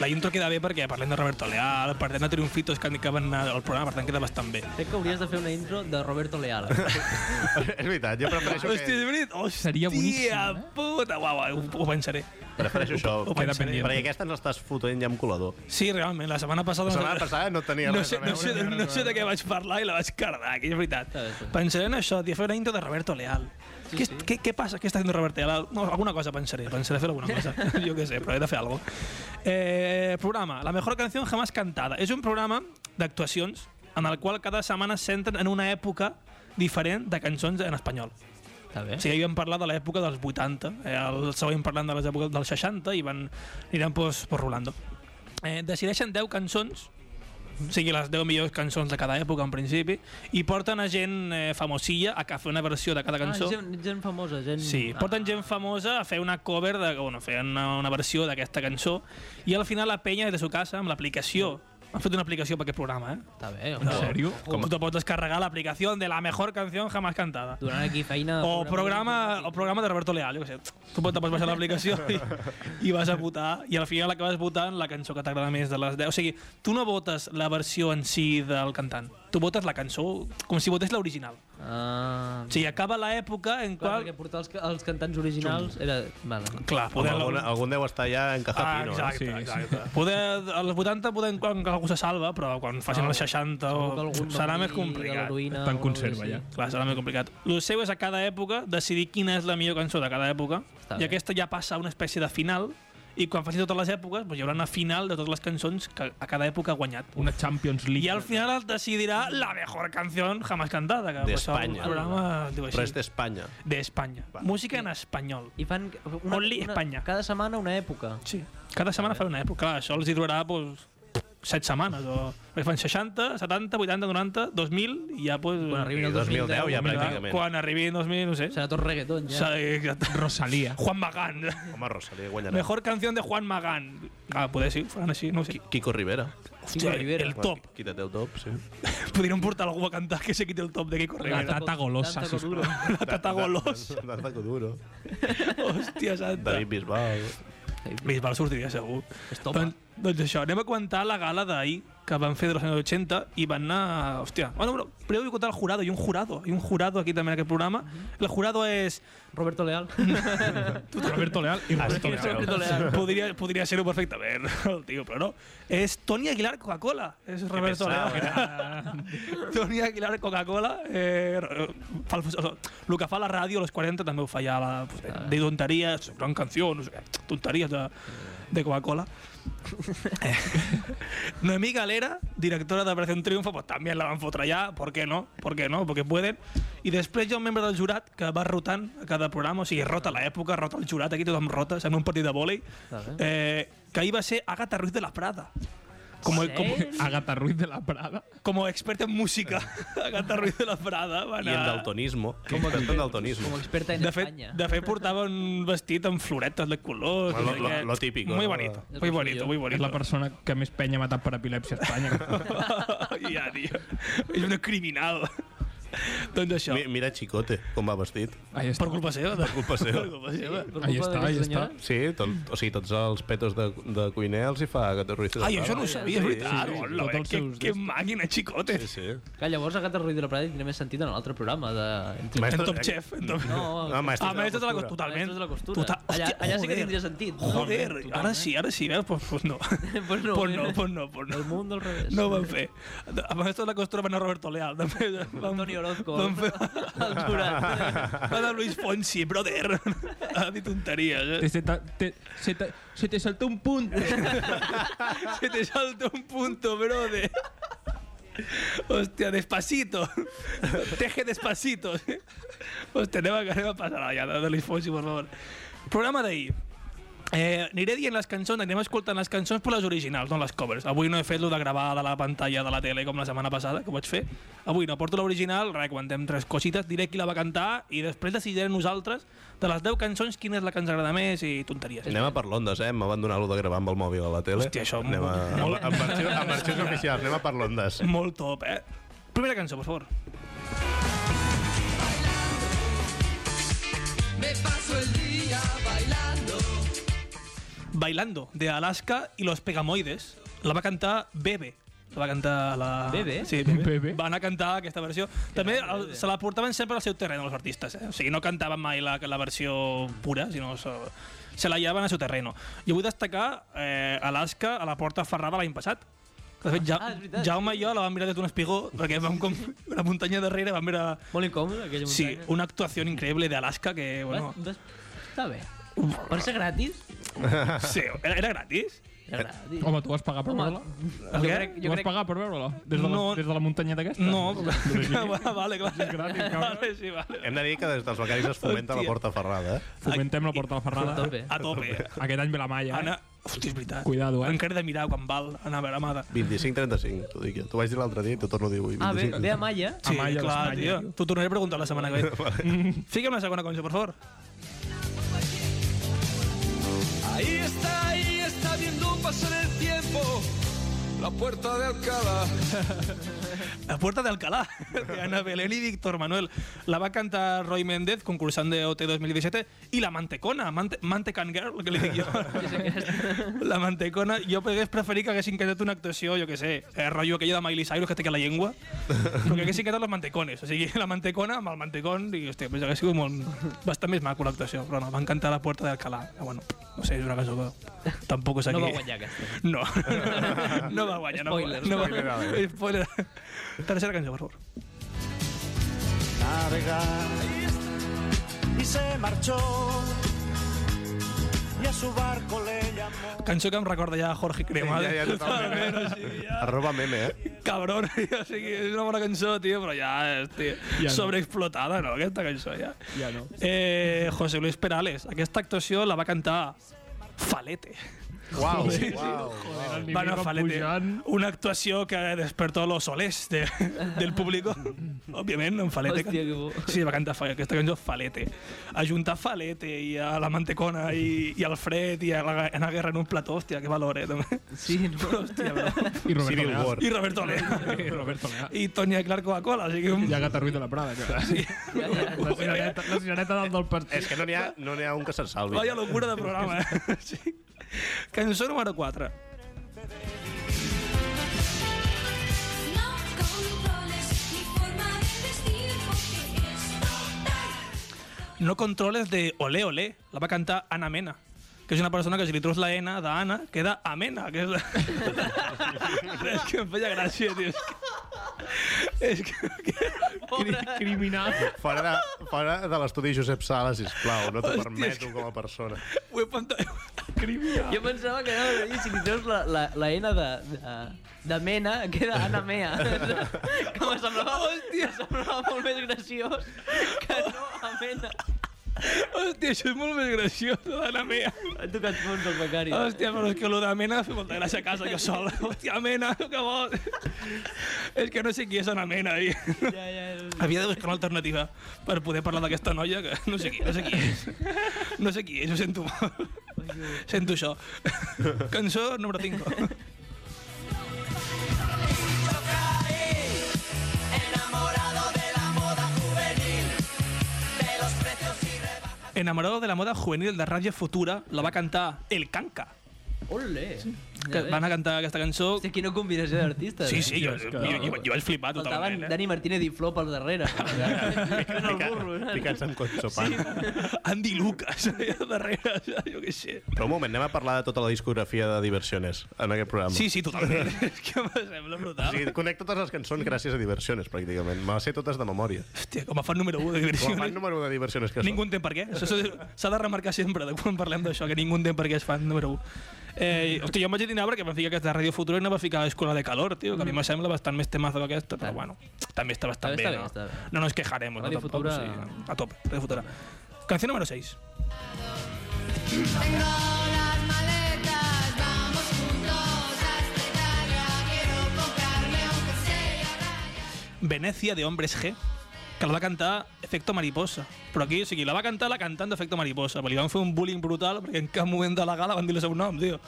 B: La intro queda bé perquè parlem de Roberto Leal, parlem de triomfitos que indicaven al programa, per tant queda bastant bé.
D: Crec que hauries de fer una intro de Roberto Leal.
A: és veritat, jo prefereixo,
B: Hòstia, és
A: que,
B: veritat. Hòstia,
C: Seria boníssim, eh?
B: puta. Uau, uau, ho, ho pensaré.
A: prefereixo això.
B: ho
C: Queda
B: pensaré.
C: pendent.
A: Perquè aquesta ens l'estàs fotent ja amb colador.
B: Sí, realment, la setmana passada...
A: La setmana passada no tenia
B: no
A: res
B: sé,
A: a
B: no
A: veure.
B: sé, no sé de què vaig parlar i la vaig cardar, que és veritat.
D: Està bé, està bé.
B: Pensaré en això, tia, fer una intro de Roberto Leal. Sí, què, sí. Què, què passa? Què està fent Roberto Leal? No, alguna cosa pensaré, pensaré fer alguna cosa. jo què sé, però he de fer alguna cosa. Eh, programa, La mejor canción jamás cantada. És un programa d'actuacions en el qual cada setmana es centren en una època diferent de cançons en espanyol.
D: Està bé.
B: O sigui, ahir vam parlar de l'època dels 80, eh, el següent parlant de les èpoques dels 60 i van, aniran pues, pues Rolando. Eh, decideixen 10 cançons, o sigui, les 10 millors cançons de cada època, en principi, i porten a gent eh, famosilla a que- a fer una versió de cada
D: Ah,
B: cançó.
D: gent, gent famosa, gent...
B: Sí, porten gent famosa a fer una cover, de, bueno, a fer una, una versió d'aquesta cançó, i al final la penya des de su casa, amb l'aplicació, han fet una aplicació per aquest programa, eh?
D: Ah, Està bé,
B: En
D: home.
C: sèrio?
B: Com? Tu te pots descarregar l'aplicació de la mejor canción jamás cantada.
D: Donant aquí feina... de
B: O programa, o
D: informàtic.
B: programa de Roberto Leal, jo què sé. Tu pots, pots baixar l'aplicació i, i vas a votar, i al final acabes votant la cançó que t'agrada més de les 10. O sigui, tu no votes la versió en si del cantant, tu votes la cançó com si votés l'original.
D: Ah,
B: O sigui, acaba l'època en
D: clar,
B: qual...
D: perquè portar els, ca- els cantants originals era... Vale.
B: Clar,
A: Home,
B: poder...
A: algun, algun deu estar ja en caja
B: Ah,
A: fino. eh?
B: exacte,
C: Sí, sí.
B: exacte. Poder, als 80 podem quan algú se salva, però quan facin els 60
D: Segur que
B: o...
D: algun
B: serà
D: va
B: més
D: morir de
B: complicat.
D: l'heroïna o
C: Està en
D: alguna cosa
C: conserva,
D: així.
C: ja.
B: Clar, serà més complicat. El seu és a cada època decidir quina és la millor cançó de cada època
D: Està
B: i
D: bé.
B: aquesta ja passa a una espècie de final i quan facin totes les èpoques doncs, hi haurà una final de totes les cançons que a cada època ha guanyat.
C: Una Champions League.
B: I al final el decidirà la mejor canción jamás cantada. que pues, el
A: D'Espanya.
B: programa diu així.
A: Però és d'Espanya.
B: D'Espanya. Música en espanyol.
D: I fan... Una,
B: Only Espanya.
D: Cada setmana una època.
B: Sí. Cada setmana fa una època. Clar, això els hi durarà doncs, 7 setmanes. O... perquè Fan 60, 70, 80, 90, 2000 i ja... Doncs,
D: Quan arribi el
A: I 2010 ja,
D: 2010,
A: pràcticament.
B: Quan arribi el 2000, no sé.
D: Serà tot reggaeton, ja.
B: Serà- Exacte.
C: Rosalia.
B: eh, Juan Magán.
A: Home, Rosalía guanyarà.
B: Mejor canción de Juan Magán. Ah, poder sí, faran així, no ho sé.
A: Kiko Rivera.
B: Hòstia,
D: Rivera.
B: El top.
A: Qui- Quítate el top, sí.
B: Podríem portar algú a cantar que se quiti el top de Kiko
C: La
B: Rivera.
C: tata golosa,
D: Tanta
C: sisplau.
D: cordura.
B: La tata golos.
A: Danza Coduro.
B: Hòstia santa.
A: David Bisbal.
B: Bisbal sortiria segur.
D: Estopa.
B: Don- doncs això, anem a comentar la gala d'ahir que van fer de los años 80 i van anar... Hòstia, bueno, bueno, primero voy a contar el jurado, y un jurado, y un jurado aquí també en aquest programa. El jurado és...
D: Roberto Leal.
C: Roberto Leal
B: Ah,
C: i Roberto
A: sí,
C: Leal.
D: Roberto Leal.
B: Podria, podria ser-ho perfectament, el tio, però no. És Toni Aguilar Coca-Cola, és Roberto
A: pensava,
B: Leal. Toni Aguilar, Coca-Cola, eh, fa el, o sigui, el que fa la ràdio a les 40 també ho fa ja, la, de tonteries, gran canció, no sé què, tonteries de, de Coca-Cola. Eh, Noemí Galera, directora d'Operación Triunfo, pues també la van fotre allà, ¿por qué no? ¿Por qué no? Porque pueden. I després hi ha un membre del jurat que va rotant a cada programa, o sigui, rota l'època, rota el jurat, aquí tothom rota, sembla un partit de vòlei,
D: Vale.
B: eh, que ahir va ser Agatha Ruiz de la Prada. Com, com,
D: Ah,
C: Agatha Ruiz de la Prada.
B: como experta en música, Agatha Ruiz de la Prada. Va
A: Eh. I en
B: anar...
A: daltonismo. Com que en
D: Como
A: daltonismo.
D: experta en
B: De fet,
D: España.
B: de fet, portava un vestit amb floretes de colors.
A: Bueno,
B: no sé
A: lo-
B: què.
A: lo típico,
B: Muy
A: ¿no?
B: bonito,
D: lo
B: muy bonito,
D: suyo.
B: muy
C: És
B: bonito.
C: la persona que més penya ha matat per epilèpsia a Espanya.
B: ja, tio. És una criminal. doncs això.
A: Mi, mira Chicote, com va vestit.
C: Ahí està.
B: Per culpa seva. Per
A: culpa seva.
B: Per culpa seva.
D: Per
C: Ahí
D: culpa
C: està,
D: d'aquesta
C: ahí està.
D: senyora?
A: Sí, tot, o sigui, tots els petos de, de cuiner els hi fa Gato Ruiz.
B: Ai, això no ho sabia, és veritat.
C: sí, sí,
B: Hola, eh,
C: tots els
B: que,
C: seus
B: que
C: d'estos.
B: màquina, xicote.
A: Sí, sí.
D: Que llavors Agatha Ruiz de la Prada tindrà més sentit en l'altre programa de... Entre...
B: En
A: Maestro-
B: Top Chef. En top...
D: No,
A: Ah, maestro
B: Ah,
A: de la
B: maestros de la
A: costura.
B: costura. Totalment.
D: Maestros de la costura.
B: Total...
D: Allà-
B: Hòstia,
D: allà sí que
B: joder.
D: tindria sentit.
B: Joder,
D: Totalment,
B: ara sí, ara sí, veus? Pues, pues no.
D: Pues no,
B: pues no,
D: eh?
B: pues no, pues no.
D: El mundo al revés.
B: No ho van fer. A maestros de la costura van a Roberto Leal. També van,
D: Antonio Orozco.
B: Van fer...
D: El jurat.
B: Van a Luis Fonsi, brother. Ha dit tonteries,
C: Te,
B: eh?
C: se, ta- te, se, ta- se te saltó un punto.
B: Se te salta un punto, brother. Hòstia, despacito. Teje despacito. Hòstia, anem a, anem a passar allà de, de Luis Fonsi, per favor. Programa d'ahir. Eh, aniré dient les cançons, anem escoltant les cançons però les originals, no les covers. Avui no he fet lo de gravar de la pantalla de la tele com la setmana passada, que ho vaig fer. Avui no, porto l'original, res, comentem tres cosites, diré qui la va cantar i després decidirem nosaltres de les 10 cançons quina és la que ens agrada més i tonteries.
A: Anem a per l'Ondes, eh? Em van donar lo de gravar amb el mòbil a la tele.
B: Hòstia, això
A: Anem a...
B: molt-
A: Amb, amb, arxius, amb arxius oficials, anem a per l'Ondes.
B: Molt top, eh? Primera cançó, per favor. Bailando, de Alaska y los Pegamoides. La va cantar Bebe. La va cantar la...
D: Bebe?
B: Sí, Bebe.
C: Bebe.
B: Van a cantar aquesta versió. També el, se la portaven sempre al seu terreno, els artistes. Eh? O sigui, no cantaven mai la, la versió pura, sinó se, se la llevaven al seu terreno. Jo vull destacar eh, Alaska a la porta ferrada l'any passat. Que De fet, ja,
D: Ah, és veritat,
B: Jaume i jo la vam mirar des d'un espigó, perquè vam com la muntanya darrere, vam veure...
D: Molt incòmode, aquella
B: Sí,
D: muntanya.
B: una actuació increïble d'Alaska que,
D: Vas,
B: bueno...
D: vas... Està bé. Per ser gratis?
B: Sí, era, era gratis.
D: Era gratis.
C: Home, tu vas pagar per
D: Home,
C: veure-la?
B: El
D: jo
B: què?
D: crec,
C: Tu
D: jo
C: vas
D: crec,
C: pagar per veure-la? Des, de la-
B: No.
C: des de la muntanyeta aquesta?
B: No, ah, vale, clar.
C: És gratis, cabrón.
B: Vale, sí, vale.
A: Hem de dir que des dels becaris es fomenta la
B: Hòstia.
A: porta ferrada, eh?
C: Fomentem la porta a la
D: a
C: ferrada.
D: tope.
B: A tope.
C: Aquest any ve la malla, eh?
B: Anna, hòstia, és veritat.
C: Cuidado, eh?
B: Encara he de mirar quan val anar a veure Amada.
A: 25-35, t'ho dic jo. T'ho vaig dir l'altre dia i t'ho torno a dir avui.
D: Ah, ve,
A: 25.
D: ve a Malla.
B: Sí,
C: Amaya,
B: clar,
C: l'Espanya,
B: tio. T'ho tornaré a preguntar la setmana que ve. Mm. Fica'm la segona cançó, per favor.
F: Ahí está, ahí está viendo pasar el tiempo. La puerta de Alcalá.
B: La Puerta de Alcalá, de Ana Belén y Víctor Manuel. La va cantar Roy Méndez, concursant de OT 2017, i la Mantecona, Mante Mantecan Girl, que li dic jo. la Mantecona, jo hagués preferit que haguessin cantat una actuació, jo que sé, eh, rotllo aquella de Miley Cyrus que té que la llengua, però que haguessin cantat les Mantecones, o sigui, la Mantecona amb el Mantecon, i hòstia, pues hagués sigut molt, bastant més maco l'actuació, però no, van cantar La Puerta de Alcalá. Però Bueno, no sé, és una cançó que tampoc és aquí.
D: No va guanyar aquesta.
B: No, no va guanyar.
D: Spoiler,
B: no va, no
D: spoiler
B: va, spoiler. Tercera cançó, per favor.
G: navegar y se marchó y a su barco le llamó
B: Cançó que em recorda ja a Jorge Cremades.
A: Ja, ja, totalment.
B: o sigui, ja,
A: Arroba meme, eh?
B: cabron, o sigui, és una bona cançó, tio, però ja, hòstia,
C: Ja no.
B: ja sobreexplotada, no, aquesta cançó, ja.
C: Ja no.
B: Eh, José Luis Perales, aquesta actuació la va cantar Falete.
A: Uau,
B: sí.
A: uau.
C: El nivell
B: Van a
C: va
B: Falete.
C: pujant.
B: Una actuació que despertó los olés de, del públic, òbviament, en Falete.
D: Hòstia, que bo.
B: Sí, va cantar fa- aquesta cançó Falete. Ajuntar Falete i a la Mantecona i, i al Fred i a la, a la guerra en un plató, hòstia, que valor, eh, també.
D: Sí, no?
B: Hòstia, però...
C: I Roberto
A: Civil
C: Leal.
A: War.
B: I Roberto Lea.
C: I Roberto Leal.
B: I Tony Clark Coca-Cola, o sigui... Un...
C: I Agatha Ruiz de la Prada, que... Sí. La cirereta, la cirereta dalt del
A: És
C: partit.
A: que no n'hi ha, no n'hi ha un que se'n salvi.
B: Vaya locura de programa, eh? Sí. Cançó número 4.
H: No controles mi forma de vestir porque es total.
B: No controles de Olé Olé. La va cantar Ana Mena, que és una persona que si li trobes la N d'Anna queda amena, que és la... és que em feia gràcia, tio. És que... És que...
C: Cri- Criminal.
A: Fora de, fora de l'estudi Josep Sala, sisplau, no t'ho permeto com a persona.
B: Ho he pantat... Criminal.
D: Jo pensava que anava a dir, si li treus la, la, la N de, de, de mena, queda Anna Mea. que me semblava, hòstia, semblava molt més graciós que no Amena.
B: Hòstia, això és molt més graciós, d'Anna Mea.
D: Han tocat fons els becaris.
B: Hòstia, però és que lo de Mena fa molta gràcia a casa, jo sol. Hòstia, Mena, que bo. és que no sé qui és Ana Mena. I...
D: Ja, ja, ja.
B: Havia de buscar una alternativa per poder parlar d'aquesta noia que no sé qui, no sé qui és. No sé qui és, ho sento molt. Sento això. Cançó número 5.
F: Enamorado del amor.
B: enamorado de la moda juvenil de Radio Futura, la va cantar El Canca.
D: Ole!
B: Que van a cantar aquesta cançó...
D: Hosti, quina combinació d'artistes.
B: Sí,
D: eh?
B: sí, jo,
C: és
B: jo,
C: que-
B: jo, jo vaig flipar
D: Faltaven
B: totalment. Eh?
D: Dani Martínez i Flo per darrere. Ficant el burro,
A: Pica-
D: saps?
A: Picats amb consopan.
B: Andy Lucas, allà darrere, jo què sé.
A: Però un moment, anem a parlar de tota la discografia de Diversiones en aquest programa.
B: Sí, sí, totalment. és que em sembla
A: O
B: brutal.
A: sigui, connecto totes les cançons gràcies a Diversiones, pràcticament. Me les sé totes de memòria.
B: Hòstia, com a fan número 1
A: Com
B: de
A: a
B: diversió.
A: fan número u de Diversiones que
B: Ningú entén per què. Això s'ha- S'ha de remarcar sempre de quan parlem d'això, que ningú entén per què és fan número 1. Eh, hòstia, jo em vaig dinar perquè em ficar aquesta Ràdio Futura i no va ficar Escola de Calor, tio, que a mi me sembla bastant més temazo que aquesta, però bueno, també està bastant
D: També
B: bé,
D: està bé,
B: no?
D: està bé.
B: No nos quejaremos,
D: Radio
B: no, tampoc,
D: Futura-
B: sí, a tope, Radio Futura. Canción número 6.
H: Tengo las maletas, vamos juntos hasta Italia. Quiero comprarme aunque sea raya.
B: Venecia de Hombres G, que la va cantar Efecto Mariposa. Però aquí, o sigui, la va cantar la cantant d'Efecto Mariposa, però li van fer un bullying brutal perquè en cap moment de la gala van dir el seu nom, tio.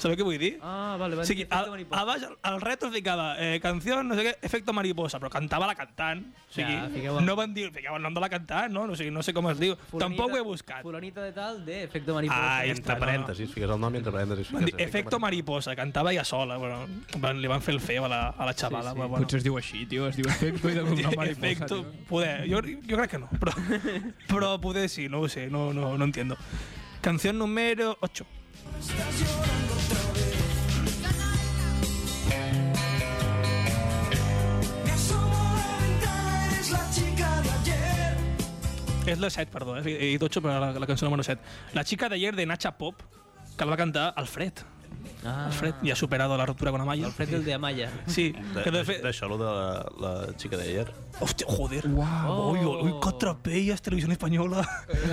B: Sabeu què vull dir?
D: Ah, vale,
B: o
D: vale.
B: sigui, a, a baix, al retro ficava eh, canció, no sé què, Efecto Mariposa, però cantava la cantant. O sigui,
D: Ja, fiqueu-
B: no van dir, ficava el nom de la cantant, no? O sigui, no sé com es diu. Tampoc ho he buscat.
D: Fulanita de tal, de Efecto Mariposa.
B: Ah,
A: sóc.
B: ja
A: Entre
B: està, no, no.
A: parèntesis, fiques el nom i entre parèntesis
B: Van
A: fiques...
B: dir, Efecto Mariposa, cantava ella sola, però van, li van fer el feo a la, a la xavala. però bueno.
C: Potser es diu així, tio. Es diu efecto i de una mariposa,
B: Efecto,
C: tio.
B: poder. Yo, yo creo que no, pero, pero poder sí, no lo sé, no, no, no entiendo. Canción número 8.
G: Me asomo a la ventana, eres la chica de ayer.
B: Es la 7, perdón, eh, he dit 8, pero la, la canción número 7. La chica de ayer de Nacha Pop, que la va a cantar Alfred.
D: Ah,
B: Alfred ya ha superado la ruptura con Amaya.
D: Alfred el de Amaya.
B: Sí, que de fet...
A: D'això, lo de la, la xica d'ahir.
B: Hòstia, joder.
C: Uau.
B: Uy, uy, que atropelles, Televisió Espanyola.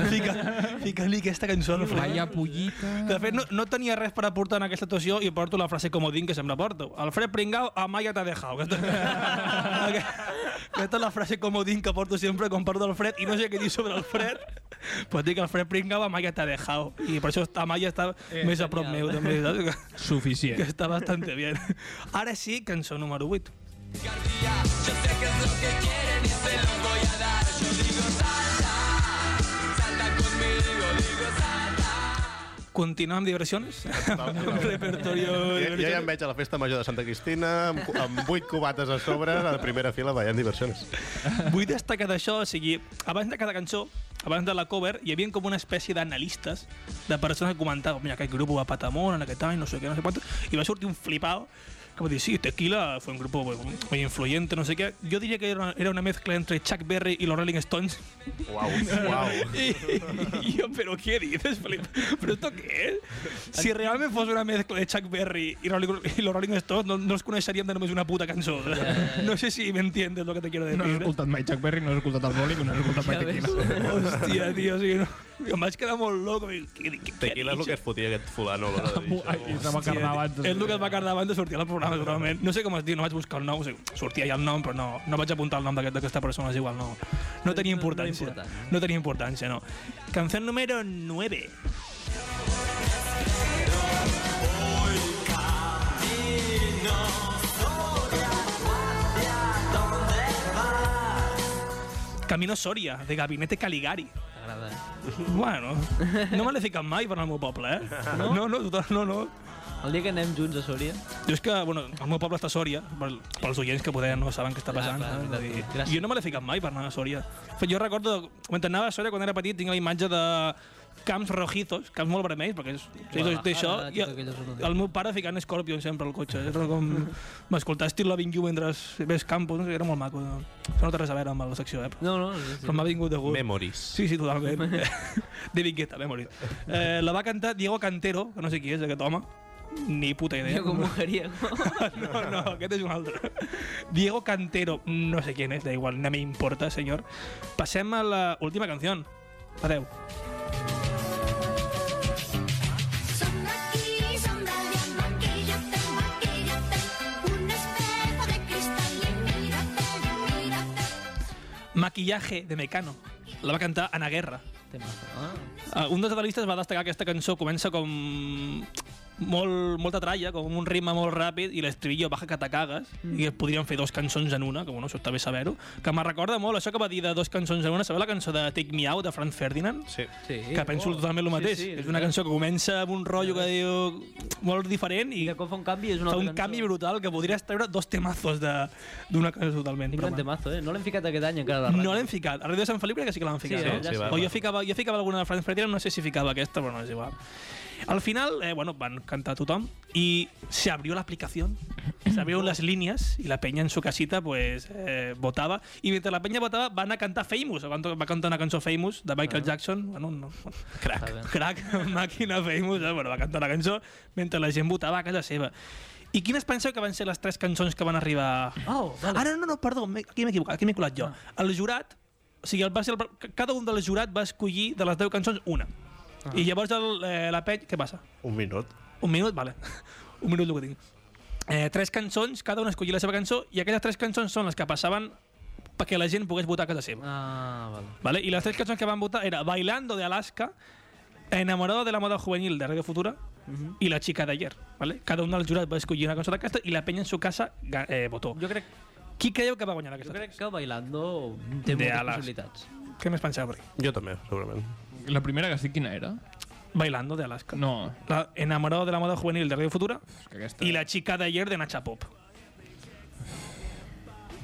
B: Fica- Fica-li aquesta cançó al Alfred.
C: Vaya pollita.
B: De fet, no, no tenia res per aportar en aquesta actuació i porto la frase comodín que sempre porto. El fred pringau a Maya t'ha dejado. Aquesta, aquesta és la frase comodín que porto sempre quan parlo del fred i no sé què dir sobre el fred. Pues dic que el fred pringau a Maya t'ha dejado. I per això a Maya està eh, més a prop meu, també. Saps? Que, que
C: Suficient.
B: està bastant bé. Ara sí, cançó número 8. Continuem amb diversions? Amb repertorio
A: Jo, jo ja em
B: diversions.
A: veig a la festa major de Santa Cristina amb, cu- amb vuit cubates a sobre a la primera fila ballant diversiones.
B: Vull destacar d'això, o sigui, abans de cada cançó, abans de la cover, hi havia com una espècie d'analistes, de persones que comentaven, mira, aquest grup ho va patar molt en aquest any, no sé què, no sé quantos, i va sortir un flipado que va dir, sí, Tequila fue un grupo muy- muy influyente, no sé qué. Yo diría que era una, era una mezcla entre Chuck Berry y los Rolling Stones.
A: Uau, uau.
B: Y,
C: Oh.
B: y yo, ¿pero qué dices, Felipe? ¿Pero esto qué es? Si realmente fuese una mezcla de Chuck Berry y, Rolling- y los Rolling Stones, no, no os conocerían de només una puta cançó. No sé si me entiendes lo que te quiero decir.
C: No has
B: eh?
C: escoltat mai Chuck Berry, no has escoltat el Bòlic, no has escoltat mai
D: Ja ves.
C: Tequila.
B: Hòstia, tio, o sigui, no, em vaig quedar molt loco. dic, Què, què, què
A: Tequila és el que es fotia aquest fulano a l'hora de dir
C: Ai,
A: això.
C: es va carnar abans.
B: És el que es va quedar abans de sortir al programa,
A: Ah,
B: totalment. No sé com es diu, no vaig buscar el nom, o sigui, sortia ja el nom, però no, no vaig apuntar el nom d'aquest- d'aquesta persona, és igual, no, no tenia
D: No- no era
B: importància.
D: important.
B: No tenia importància, no. Canción número 9. Camino Soria, de Gabinete Caligari.
D: T'agrada.
B: Bueno, no me l'he ficat mai per al meu poble, eh? No, no, no, total, no, no.
D: El dia que anem junts a Súria...
B: Jo és que, bueno, el meu poble està a Sòria, pel- pels oients que poder no saben què està
D: Ja,
B: passant.
D: Ah, clar,
B: saps?
D: veritat,
B: Vull dir,
D: gràcies.
B: jo no me l'he ficat mai per anar a Sòria. De fet, Jo recordo, quan anava a Sòria, quan era petit, tinc la imatge de camps rojizos, camps molt vermells, perquè és, és
D: Guadalajara,
B: d'això,
D: tot
B: i
D: aquell resultat.
B: el meu pare ficant Scorpion sempre al cotxe. Era com m'escoltar Steel Loving You mentre ves campos, no sé, era molt maco. No? Això no té res a veure amb la secció, eh? Però,
D: No, no, sí, sí.
B: però m'ha vingut de gust.
A: Memories.
B: Sí, sí, totalment. David Guetta, m'he morit. Eh, la va cantar Diego Cantero, que no sé qui és aquest home. Ni puta idea.
D: Jo com mujeriego.
B: no, no, aquest és un altre. Diego Cantero, no sé quién es, da igual, no me importa, señor. Passem a la última canción. Adeu.
H: Sombra aquí, sombra allá, maquillate, maquillate. Un espejo de cristal y mírate, mírate.
B: Maquillaje de Mecano. La va cantar Ana Guerra.
D: Temazo. Ah,
B: Eh, Uh, un dels analistes va destacar que aquesta cançó comença com molt, molta tralla, com un ritme molt ràpid i l'estribillo baja que te cagues mm. i es podrien fer dos cançons en una, que bueno, això està bé saber-ho que me recorda molt això que va dir de dos cançons en una sabeu la cançó de Take Me Out de Franz Ferdinand?
A: Sí.
D: Sí.
B: que penso totalment el mateix. Sí, sí, és una cançó que comença amb un rotllo que diu molt diferent i
D: I de cop fa un canvi, és una
B: fa
D: altra
B: un
D: cançó.
B: canvi brutal que podries treure dos temazos de- d'una cançó totalment.
D: Tinc un
B: Però, bueno,
D: temazo, eh? No l'hem ficat aquest any encara a la ràdio.
B: no l'hem ficat. A Ràdio de Sant Feliu crec que sí que l'han ficat.
D: Sí,
B: no?
D: eh? Sí,
A: va,
B: o
A: va.
B: jo ficava, jo ficava alguna de Franz Ferdinand, no sé si ficava aquesta, però no és igual. Al final, eh, bueno, van cantar tothom i se abrió la aplicación, se abrieron las líneas y la peña en su casita pues eh, votaba y mientras la peña votaba van a cantar Famous, van to- va cantar una cançó Famous de Michael Jackson, bueno, no, bueno,
D: Està bé.
B: Ah. crack, crack, màquina Famous, eh? bueno, va cantar la cançó mentre la gent votava a casa seva. I quines penseu que van ser les tres cançons que van arribar
D: Oh, vale.
B: Ah, no, no, no, perdó, m'he- aquí m'he equivocat, aquí m'he colat jo. El jurat, o sigui, el, va ser el, ca- cada un del jurat va escollir de les 10 cançons una. I llavors el, eh, la pell... Què passa?
A: Un minut.
B: Un minut? Vale. un minut el que tinc. Eh, tres cançons, cada una escollia la seva cançó, i aquelles tres cançons són les que passaven perquè la gent pogués votar a casa seva.
D: Ah, vale.
B: ¿vale? Y las tres canciones que van a votar era Bailando de Alaska, Enamorado de la moda juvenil de Radio Futura y La chica de ayer. ¿vale? Cada un dels jurats va escollir una cançó d'aquesta i la penya en su casa ga- eh, votó.
D: Jo crec,
B: Qui creieu que va guanyar aquesta?
D: jo crec que Bailando té
B: De
D: moltes
B: Alas.
D: possibilitats.
B: Què més penseu, Bri?
A: Jo també, segurament.
C: La primera que sí, quina era?
B: Bailando de Alaska.
C: No,
B: La Enamorado de la moda juvenil de Radio Futura
C: és que aquesta...
B: y La chica de ayer de Nacha Pop.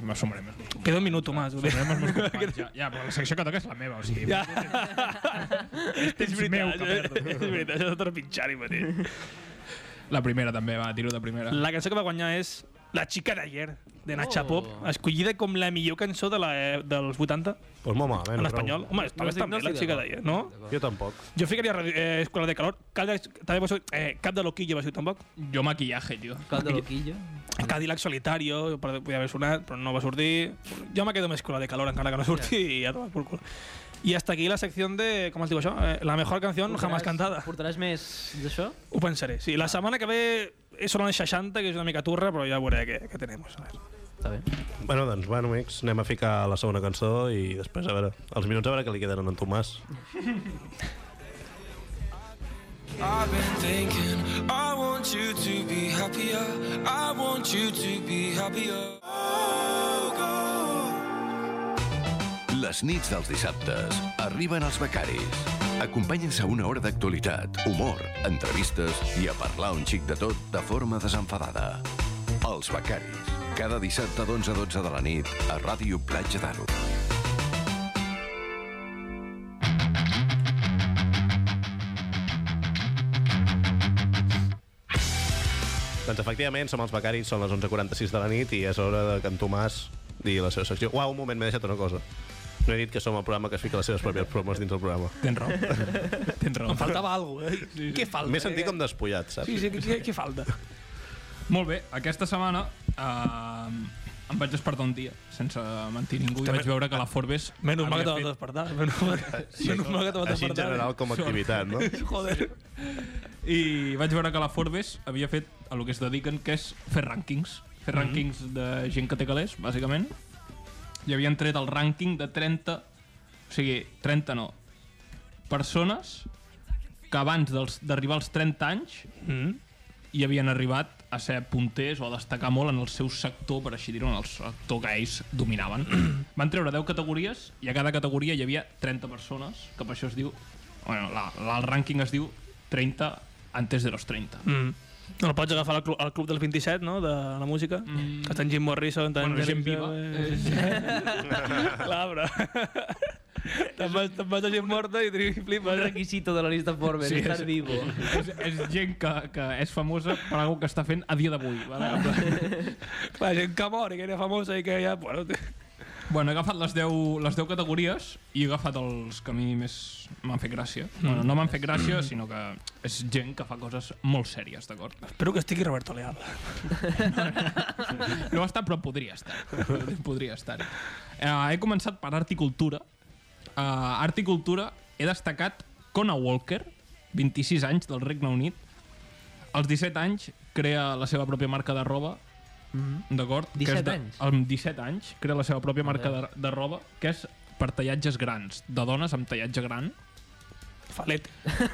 C: M'assomarem.
B: Queda un minuto más. Bri.
C: M'assomarem eh. els meus companys, ja, ja, però la secció que toca és la meva, o sigui...
B: Ja. és
C: Temps meu
B: veritat,
C: que
B: eh?
C: perdo.
B: és veritat, això de trepitjar-hi mateix.
C: La primera també, va, tiro de primera.
B: La cançó que va guanyar és La xica d'ayer, de Nacha
D: Oh.
B: Pop, escollida com la millor cançó de la, eh, dels 80
A: Pues molt malament.
B: en
A: ho trobo.
B: espanyol. Home, està
D: No estic-
B: no bastant
D: no
B: bé, La
D: estic
B: xica
D: d'acord.
B: d'ayer, no?
A: Jo tampoc.
B: Jo ficaria eh, Escola de Calor, Cadillac, també va ser, eh, Cap de Loquillo va ser tampoc,
C: Jo maquillaje, tio.
D: Cal de loquillo.
B: Cadillac Solitario, per- podia haver sonat, però no va sortir. Jo me quedo amb Escola de Calor, encara que no surti, i ja tomar por cul. I hasta aquí la secció de, com es diu això? Eh, la mejor canción jamás cantada.
D: Portaràs més d'això?
B: Ho pensaré, sí. La setmana que ve són els 60, que és una mica turra, però ja veuré què, què tenemos. A ver.
D: Està bé.
A: Bueno, doncs, bueno, amics, anem a ficar la segona cançó i després a veure els minuts a veure què li queden a en Tomàs.
F: I've been thinking, I want you to be happier. I want you to be happier. Oh, God.
I: Les nits dels dissabtes arriben els becaris. Acompanyen-se a una hora d'actualitat, humor, entrevistes i a parlar un xic de tot de forma desenfadada. Els becaris. Cada dissabte d'11 a 12 de la nit a Ràdio Platja d'Aro.
A: Doncs efectivament, som els becaris, són les 11.46 de la nit i és hora de que en Tomàs digui la seva secció. Uau, un moment, m'he deixat una cosa. No he dit que som el programa que es fica les seves pròpies promos dins el programa.
C: Tens raó. Tens raó.
B: Em faltava alguna cosa, eh? Què falta?
A: M'he sentit com despullat, saps?
B: Sí, sí, què, què falta?
C: Molt bé, aquesta setmana eh, em vaig despertar un dia, sense mentir ningú, i vaig veure que la Forbes...
B: Menys mal que te vas
C: havia fet-
B: despertar. Menys mal, menys mal que te
A: Així en
B: vas despertar.
A: general com a activitat, no?
B: Joder.
C: I vaig veure que la Forbes havia fet el que es dediquen, que és fer rànquings.
B: Mhm.
C: Fer rànquings de gent que té calés, bàsicament. I havien tret el rànquing de 30... O sigui, 30 no. Persones que abans dels- d'arribar als 30 anys
B: Mm.
C: i havien arribat a ser punters o a destacar molt en el seu sector, per així dir-ho, en el sector que ells dominaven. Van treure 10 categories i a cada categoria hi havia 30 persones, que per això es diu... Bueno, la, la, el rànquing es diu 30 antes de los 30.
B: Mm. No el pots agafar al club, al club dels 27, no?, de la música. Que està en Jim Morrison, està en
C: Bueno, gent
B: Jerry
C: viva.
B: Lewis. Clar, però... Te'n vas, te'n vas a gent morta i tri-
D: Un
B: flipes.
D: requisito de la lista Forbes,
C: Sí,
D: sí, estar
C: és-
D: vivo.
C: és, és gent que, que és famosa per alguna que està fent a dia d'avui. Vale?
B: Clar, gent que mor i que era famosa i que ja... Bueno, té-
C: Bueno, he agafat les 10, les 10 categories i he agafat els que a mi més m'han fet gràcia. Bueno, no m'han fet gràcia, sinó que és gent que fa coses molt sèries, d'acord?
B: Espero que estigui Roberto Leal.
C: No ho està, però podria estar. Podria estar. Uh, he començat per Art i Cultura. Uh, Art i Cultura he destacat Cona Walker, 26 anys, del Regne Unit. Als 17 anys crea la seva pròpia marca de roba, d'acord? Que és
D: 17
C: de-
D: anys?
C: Amb 17 anys crea la seva pròpia marca de, de roba, que és per tallatges grans, de dones amb tallatge gran.
B: Falete.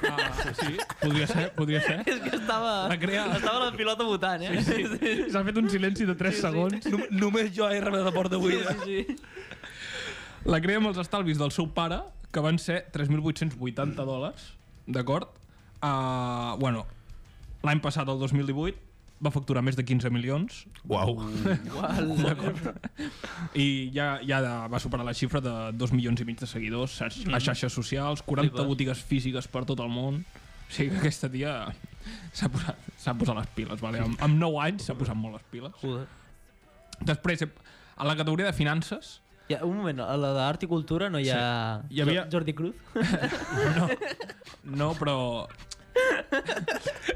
C: Ah, sí, podria ser, podria ser.
D: És que estava...
C: La crea-
D: Estava la pilota votant, eh? Sí, sí.
C: S'ha fet un silenci de 3 segons.
B: Nom només jo he rebut la porta avui.
D: sí, sí.
C: La crea amb els estalvis del seu pare, que van ser 3.880 dòlars, d'acord? Uh, bueno, l'any passat, el 2018, va facturar més de 15 milions
A: Uau.
C: i ja, ja de- va superar la xifra de 2 milions i mig de seguidors a, a xarxes socials, 40
D: Flipa.
C: botigues físiques per tot el món. O sigui que aquesta tia s'ha posat, s'ha posat les piles, vale? amb, amb 9 anys s'ha posat molt les piles.
D: Joder.
C: Després, eh, a la categoria de finances,
D: Ja, un moment, a la d'Art i Cultura no hi ha...
C: Hi havia-
D: Jo- Jordi Cruz?
C: no, però...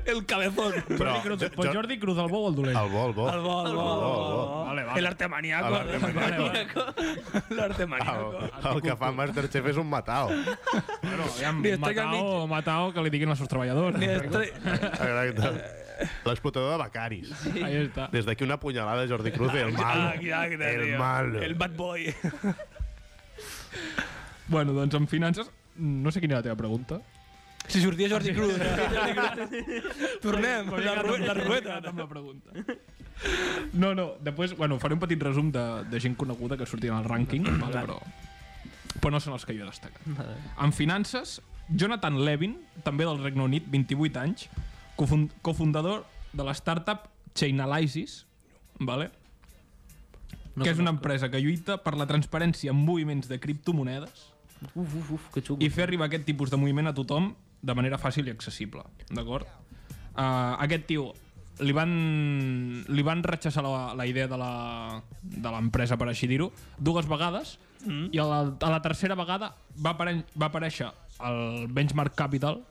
B: El cabezón.
A: Però,
C: Jordi Cruz, però Jordi Cruz, el bo o el dolent?
A: El bo, el bo.
B: El bo, el bo, el bo.
C: Vale, vale.
B: El arte maníaco.
A: El Ah, arte
B: maníaco. El Eh. arte maníaco.
A: El, el que fa Masterchef és un matau.
C: Bueno, aviam,
B: Ni està
C: matao, matao, que li diguin als seus treballadors.
B: Ni estre-
A: Exacte. L'explotador de becaris.
C: Ahí està.
A: Des d'aquí una punyalada a Jordi Cruz i el
B: Ah,
A: mal.
B: exacte,
A: El
B: tio.
A: mal.
B: El bad boy.
C: Bueno, doncs en finances, no sé quina era la teva pregunta.
B: Si sortia Jordi Cruz. Tornem, la, rue la rueta.
C: Amb la pregunta. No, no, després, bueno, faré un petit resum de, de gent coneguda que sortia en el rànquing, vale, però, però no són els que jo he destacat. En finances, Jonathan Levin, també del Regne Unit, 28 anys, cofund- cofundador de la startup Chainalysis, vale?
D: No
C: que és una
D: conozco.
C: empresa que lluita per la transparència en moviments de criptomonedes
D: Uf, uf, uf, que xungo.
C: i fer arribar aquest tipus de moviment a tothom de manera fàcil i accessible, d'acord? Uh, aquest tio li van, li van rechaçar la, la idea de la- de l'empresa, per així dir-ho, dues vegades, mm. i a la, a la tercera vegada va, apare va aparèixer el Benchmark Capital,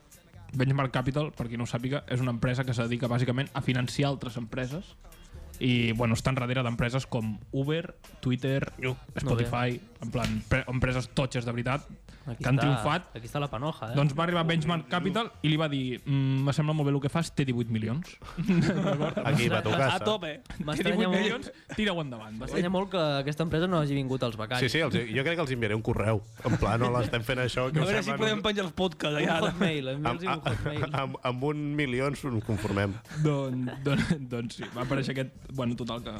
C: Benchmark Capital, per qui no ho sàpiga, és una empresa que se dedica bàsicament a financiar altres empreses i bueno, estan darrere d'empreses com Uber, Twitter, Spotify, en plan pre- empreses totxes de veritat que han triomfat
D: Aquí està la panoja, eh?
C: doncs va arribar Benchmark Capital i li va dir mm, me sembla molt bé el que fas, té 18 milions.
A: Aquí, va a tu
B: A
A: casa.
B: tope.
C: Té
D: M'estranya
C: 18
D: molt,
C: milions, tira-ho endavant.
D: m'estranya molt que aquesta empresa no hagi vingut als
A: Sí,
D: becaris.
A: sí, els, jo crec que els enviaré un correu. En plan, hola, estem fent això. Que
B: A
A: us
B: veure si
A: sembla?"
B: podem penjar els podcasts
D: Un
B: allà.
D: hotmail,
A: Amb,
D: envia'ls un hotmail.
A: a- amb, amb un milió ens conformem.
C: Don, don, doncs sí, va aparèixer aquest... Bueno, total, que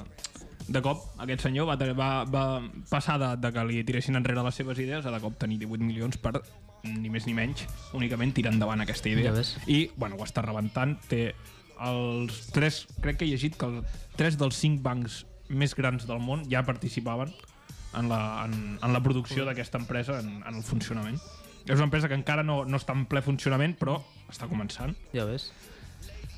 C: de cop aquest senyor va, tenir- va, va passar de, de que li tiressin enrere les seves idees a de cop tenir 18 milions per ni més ni menys, únicament tirar endavant aquesta
D: Ja
C: idea.
D: ves.
C: I, bueno, ho està rebentant. Té els tres... Crec que he llegit que els tres dels cinc bancs més grans del món ja participaven en la, en, en la producció d'aquesta empresa, en, en el funcionament. És una empresa que encara no, no està en ple funcionament, però està començant.
D: Ja ves.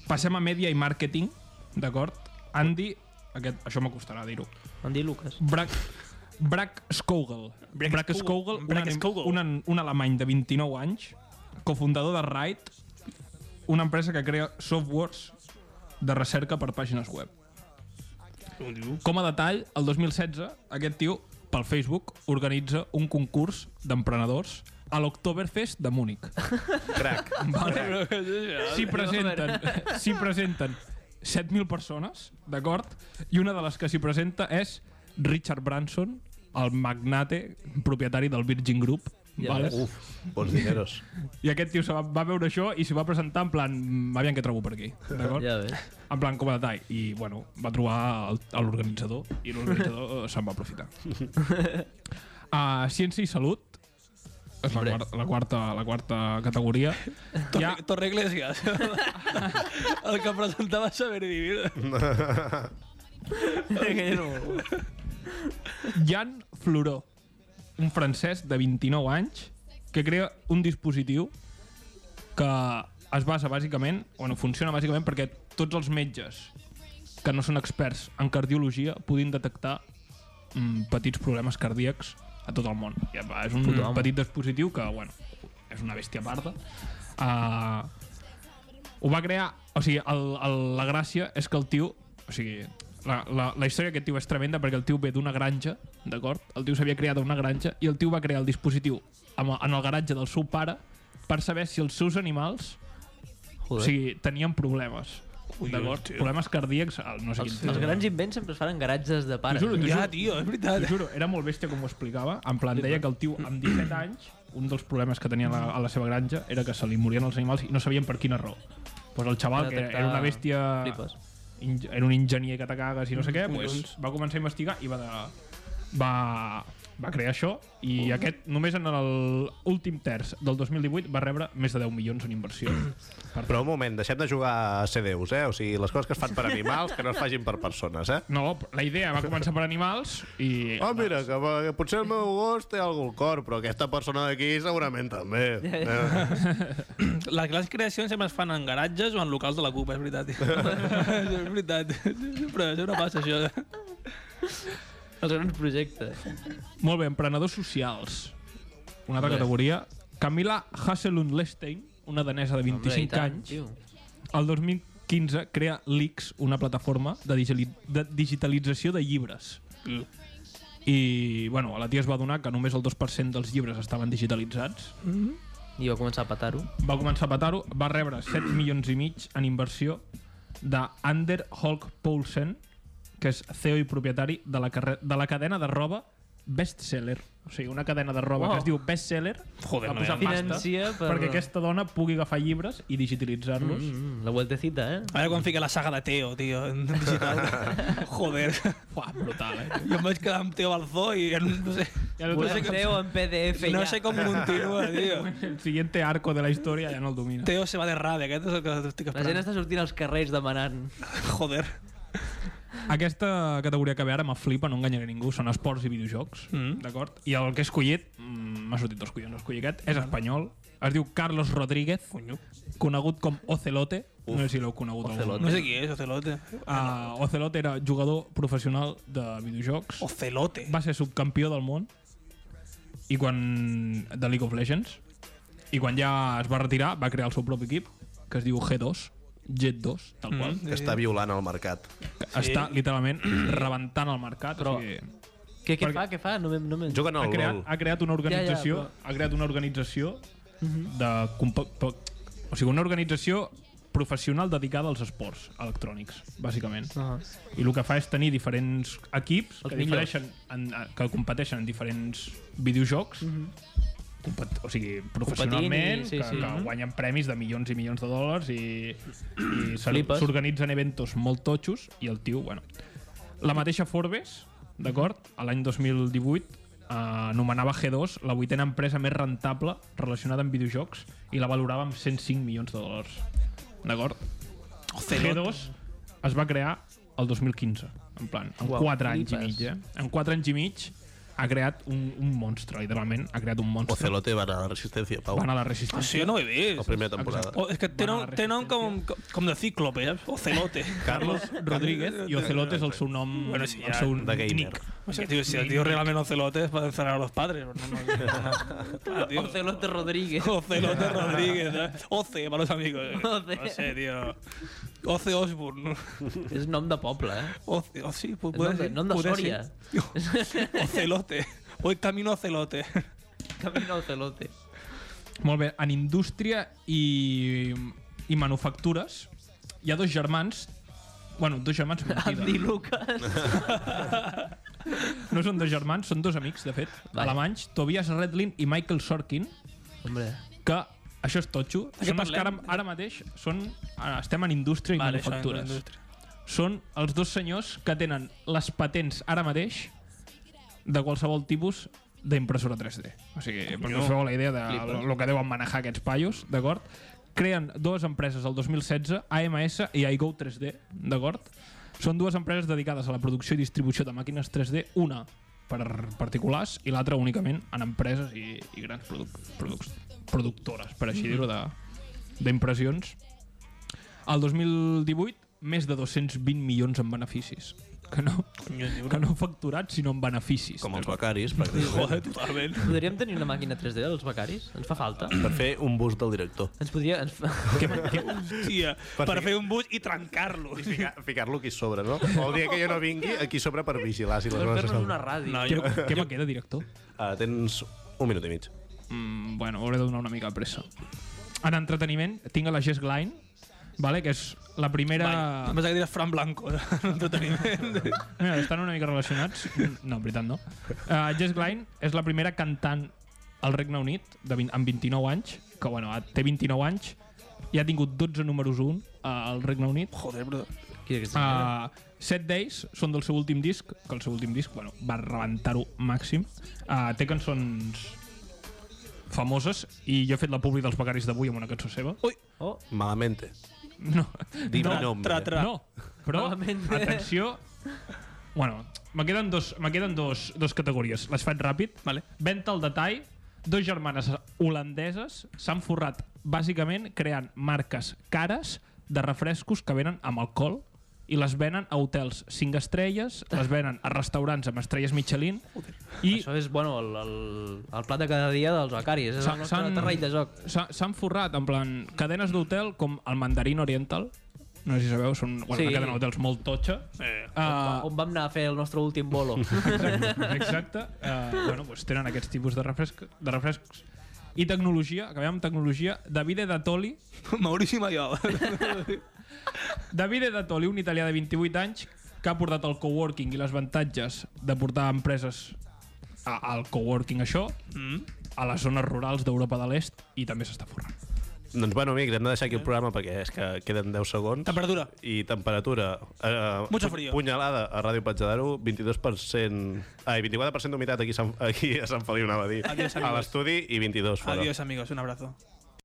C: Passem a mèdia i màrqueting, d'acord? Andy, aquest, això m'acostarà dir-ho.
D: Em dir Lucas.
C: Brack, Brack Skogel.
B: Brack
C: Brack
B: Skogel.
C: Skogel, un,
B: Brack
C: anem-
B: Skogel.
C: un, an- un alemany de 29 anys, cofundador de Ride, una empresa que crea softwares de recerca per pàgines web. Com a detall, el 2016, aquest tio, pel Facebook, organitza un concurs d'emprenedors a l'Oktoberfest de Múnich.
A: Crac.
C: Vale. S'hi presenten, s'hi presenten 7.000 persones, d'acord? I una de les que s'hi presenta és Richard Branson, el magnate propietari del Virgin Group.
D: Ja
C: vale?
D: ves.
A: Uf, bons dineros.
C: I aquest tio se va, va veure això i s'hi va presentar en plan, "Mm, aviam què trobo per aquí, d'acord?
D: Ja ves.
C: En plan com a detall. I, bueno, va trobar el- a l'organitzador i l'organitzador eh, se'n va aprofitar. Uh, Ciència i Salut, és la, quar la, quarta, la quarta categoria.
B: Torre, Torre Iglesias. el que presentava Saber i Vivir.
D: Aquell no.
C: Jan Floró, un francès de 29 anys que crea un dispositiu que es basa bàsicament, bueno, funciona bàsicament perquè tots els metges que no són experts en cardiologia puguin detectar mm, petits problemes cardíacs a tot el món. I, va, és un
D: Tothom.
C: petit dispositiu que, bueno, és una bèstia parda. Uh, ho va crear... O sigui, el, el, la gràcia és que el tio... O sigui, la, la, la història d'aquest tio és tremenda perquè el tio ve d'una granja, d'acord? El tio s'havia creat una granja i el tio va crear el dispositiu amb, en el garatge del seu pare per saber si els seus animals o
D: Joder.
C: sigui, tenien problemes. D'acord? Problemes cardíacs, al- no sé
D: Els,
C: quin...
D: els grans invents sempre es fan en garatges de
C: T'ho
D: pares.
C: juro, t'ho
B: Ja,
C: juro,
B: tio, és veritat.
C: T'ho juro, era molt bèstia com ho explicava. En plan, deia que el tio amb 17 anys un dels problemes que tenia a la, a la seva granja era que se li morien els animals i no sabien per quina raó. Pues el xaval, que
D: Detectar
C: era una bèstia...
D: flipes.
C: ing- Era un enginyer que te cagues i no sé
D: Mm,
C: què, pues, va començar a investigar i va de, va, va crear això i aquest només en l'últim terç del 2018 va rebre més de 10 milions en inversió. Per
A: Però un moment, deixem de jugar a ser déus, eh? O sigui, les coses que es fan per animals, que no es fagin per persones, eh?
C: No, la idea va començar per animals i...
D: Oh.
A: Ah, mira, que, va- que potser el meu gos té algun cor, però aquesta persona d'aquí segurament també. Eh?
B: Les grans creacions sempre es fan en garatges o en locals de la CUP, és veritat. Tio. és veritat. Però sempre passa això.
D: Els grans projectes.
C: Molt bé, emprenedors socials. Una altra categoria. Camila Hasselund Lestein, una danesa de 25
D: Home, i tant,
C: anys,
D: tio.
C: el 2015 crea Leaks, una plataforma de, digitali de digitalització de llibres. I, bueno, la tia es va adonar que només el 2% dels llibres estaven digitalitzats.
D: I va començar a petar-ho.
C: Va començar a petar-ho, va rebre 7 milions i mig en inversió de Ander Holk Poulsen, que és CEO i propietari de la, carre- de la cadena de roba Bestseller. O sigui, una cadena de roba
D: Uau.
C: que es diu Bestseller
B: Joder,
C: va
B: no
C: posar
B: hi
C: pasta
D: Financia per-
C: perquè aquesta dona pugui agafar llibres i digitalitzar-los. Mm
D: Mm, la vueltecita, eh?
B: Ara quan fica la saga de Teo, tio, en digital. Joder.
C: Uah, brutal, eh?
B: Jo em vaig quedar amb Teo al zoo i en, no sé,
C: Ja no
D: Volem
C: sé
D: teu en PDF
B: no
D: ja.
B: sé com continua, tio.
C: El siguiente arco de la història ja no el domina.
B: Teo se va de rave, aquest és el que estic
D: La gent
B: esperant.
D: està sortint als carrers demanant.
B: Joder.
C: Aquesta categoria que ve ara me flipa, no enganyaré ningú, són esports i videojocs,
B: Mhm.
C: d'acord? I el que he escollit, mm, m'ha sortit dels collons, escollir aquest, és espanyol, es diu Carlos Rodríguez,
B: Conyo.
C: conegut com Ocelote, no sé si l'heu conegut
D: Ocelote.
B: No sé qui és, Ocelote.
C: Uh, Ocelote era jugador professional de videojocs,
B: Ocelote.
C: va ser subcampió del món i quan de League of Legends i quan ja es va retirar va crear el seu propi equip que es diu G2 Jet 2, tal qual.
B: Mhm.
A: Està violant el mercat.
C: Que Està literalment rebentant el mercat. Però, o sigui,
D: Què, què
C: Perquè-
D: fa, què fa? No, me- no me...
A: Juguen
C: ha,
A: al
C: creat,
A: LOL.
C: ha creat una organització,
D: Ja, Mhm. ja,
C: ha creat una organització de compa- po- o sigui, una organització professional dedicada als esports electrònics, bàsicament.
D: Ah.
C: I el que fa és tenir diferents
D: Els
C: equips que,
D: millors.
C: difereixen en, que competeixen en diferents videojocs, compet- o sigui, professionalment,
D: i- Mhm. sí,
C: que,
D: sí. Mhm.
C: que guanyen premis de milions i milions de dòlars i, i s'or-
D: Flipes.
C: s'organitzen eventos molt totxos i el tio, bueno... La mateixa Forbes, d'acord,
D: Mhm.
C: a l'any 2018 eh, anomenava G2 la vuitena empresa més rentable relacionada amb videojocs i la valorava amb 105 milions de dòlars. D'acord? G2 es va crear el 2015, en plan, en
D: Uau,
C: 4 anys i
D: flipes.
C: mig, eh? En 4 anys i mig ha creat un, un monstre, literalment, ha creat un monstre.
A: Ocelote va anar a la resistència, Pau.
C: Van a la
B: Ah, sí,
C: resistència.
B: jo no ho he vist.
A: La primera temporada.
B: O, és que té nom, té nom com, com de cíclope, ¿eh? saps? Ocelote.
A: Carlos
C: Rodríguez i Ocelote és el seu nom,
B: Bueno, sí,
C: el
B: ja,
C: seu
A: de gamer.
C: nick.
B: O sea, tío, si el tío realmente ocelote es para encerrar a los padres. No, no, Claro, tío.
D: Ocelote Rodríguez.
B: Oh. Ocelote Rodríguez. ¿sabes? Oce para los amigos. eh.
D: Oce.
B: No sé, tío. Oce Osborne.
D: És nom de poble, eh?
B: Oce, o sí, pu-
D: El
B: puede
D: nombre-
B: ser.
D: nombre
B: puede
D: Soria.
B: ser. Ocelote. Voy camino a Ocelote.
D: Camino Ocelote.
C: Molt bé, en indústria i, i manufactures hi ha dos germans Bueno, dos germans,
D: Andy
B: Ah,
C: mentida.
D: Lucas.
C: No són dos germans, són dos amics, de fet,
D: Vale.
C: alemanys, Tobias Redlin i Michael Sorkin,
D: Hombre.
C: que això és totxo.
B: què
C: Són els que ara,
B: parlem?
C: ara mateix són, ara estem en indústria i
B: Vale, això entra en
C: manufactures.
B: indústria.
C: Són els dos senyors que tenen les patents ara mateix de qualsevol tipus d'impressora 3D. O sigui, perquè us feu la idea de
D: Flipes.
C: el que deuen manejar aquests paios, d'acord? Creen dues empreses el 2016, AMS i iGo 3D, d'acord? Són dues empreses dedicades a la producció i distribució de màquines 3D, una per particulars i l'altra únicament en empreses i, i grans produc produc productores, per així
A: Mm-hmm.
C: dir-ho, de- d'impressions. El 2018, més de 220 milions en beneficis. Que no, que no facturats, sinó en beneficis.
A: Com els becaris, pràcticament.
B: Joder, totalment.
D: Podríem tenir una màquina 3D dels becaris? Ens fa falta.
A: Per fer un bus del director.
D: Ens podria... Ens fa...
B: Doncs Hòstia,
A: Per
B: per
A: fi-
B: fer un bus i trencar-lo.
A: Ficar- Ficar-lo aquí sobre, no? O el dia que jo no vingui, aquí sobre per vigilar si les
D: Per
A: coses
D: fer-nos
A: estan...
D: una ràdio.
B: No,
C: Què,
B: jo,
C: què me queda, director?
A: Ah, tens un minut i mig.
C: Mm, bueno, hauré de donar una mica de pressa. En entreteniment, tinc a la Jess Glein, vale, que és la primera...
B: Vale. Em pensava que diràs Fran Blanco, entreteniment.
C: Eh, Mira, estan una mica relacionats. No, en veritat no. Uh, Jess Glein és la primera cantant al Regne Unit de 20, amb 29 anys, que bueno, té 29 anys, i ha tingut 12 números 1 al Regne Unit.
B: Joder, bro.
D: Qui és aquesta?
B: Ah.
C: Uh, Set Days són del seu últim disc, que el seu últim disc bueno, va rebentar-ho màxim. Uh, té cançons famoses i jo he fet la publi dels becaris d'avui amb una cançó seva.
B: Ui,
D: Oh,
A: Malamente.
C: No,
A: Dime
B: tra,
A: nombre.
B: tra, tra.
C: no, però
D: Malament.
C: atenció... Bueno, me queden, dos, me queden dos, dos categories. Les faig ràpid. Vale. Venta al detall. Dos germanes holandeses s'han forrat bàsicament creant marques cares de refrescos que venen amb alcohol i les venen a hotels 5 estrelles, les venen a restaurants amb estrelles Michelin i
D: Això és, bueno, el, el, el plat de cada dia dels becaris. És el nostre terreny de joc.
C: s'ha- S'han forrat, en plan, cadenes d'hotel com el Mandarin Oriental, no sé si sabeu, són bueno,
D: Sí.
C: una cadena d'hotels molt totxa. Eh, uh,
D: On vam anar a fer el nostre últim bolo.
C: exacte. Uh, bueno, pues tenen aquests tipus de, refresc, de refrescs. I tecnologia, acabem amb tecnologia, Davide Dattoli.
B: Maurici Maiol.
C: Davide Dattoli, un italià de 28 anys, que ha portat el coworking i les avantatges de portar empreses a, al coworking, això, a les zones rurals d'Europa de l'Est, i també s'està forrant.
A: Doncs bueno, amic, hem de deixar aquí el programa perquè és que queden 10 segons.
B: Temperatura.
A: I temperatura. Eh,
B: Mucho
A: pu-
B: frío.
A: Punyalada a Ràdio Patjadaro, 22%... Ai, 24% d'humitat aquí, a Sant- aquí a Sant Feliu, anava a dir.
B: Adiós,
A: a
B: amigos.
A: l'estudi i 22 fora.
B: Adiós, amigos. Un abrazo.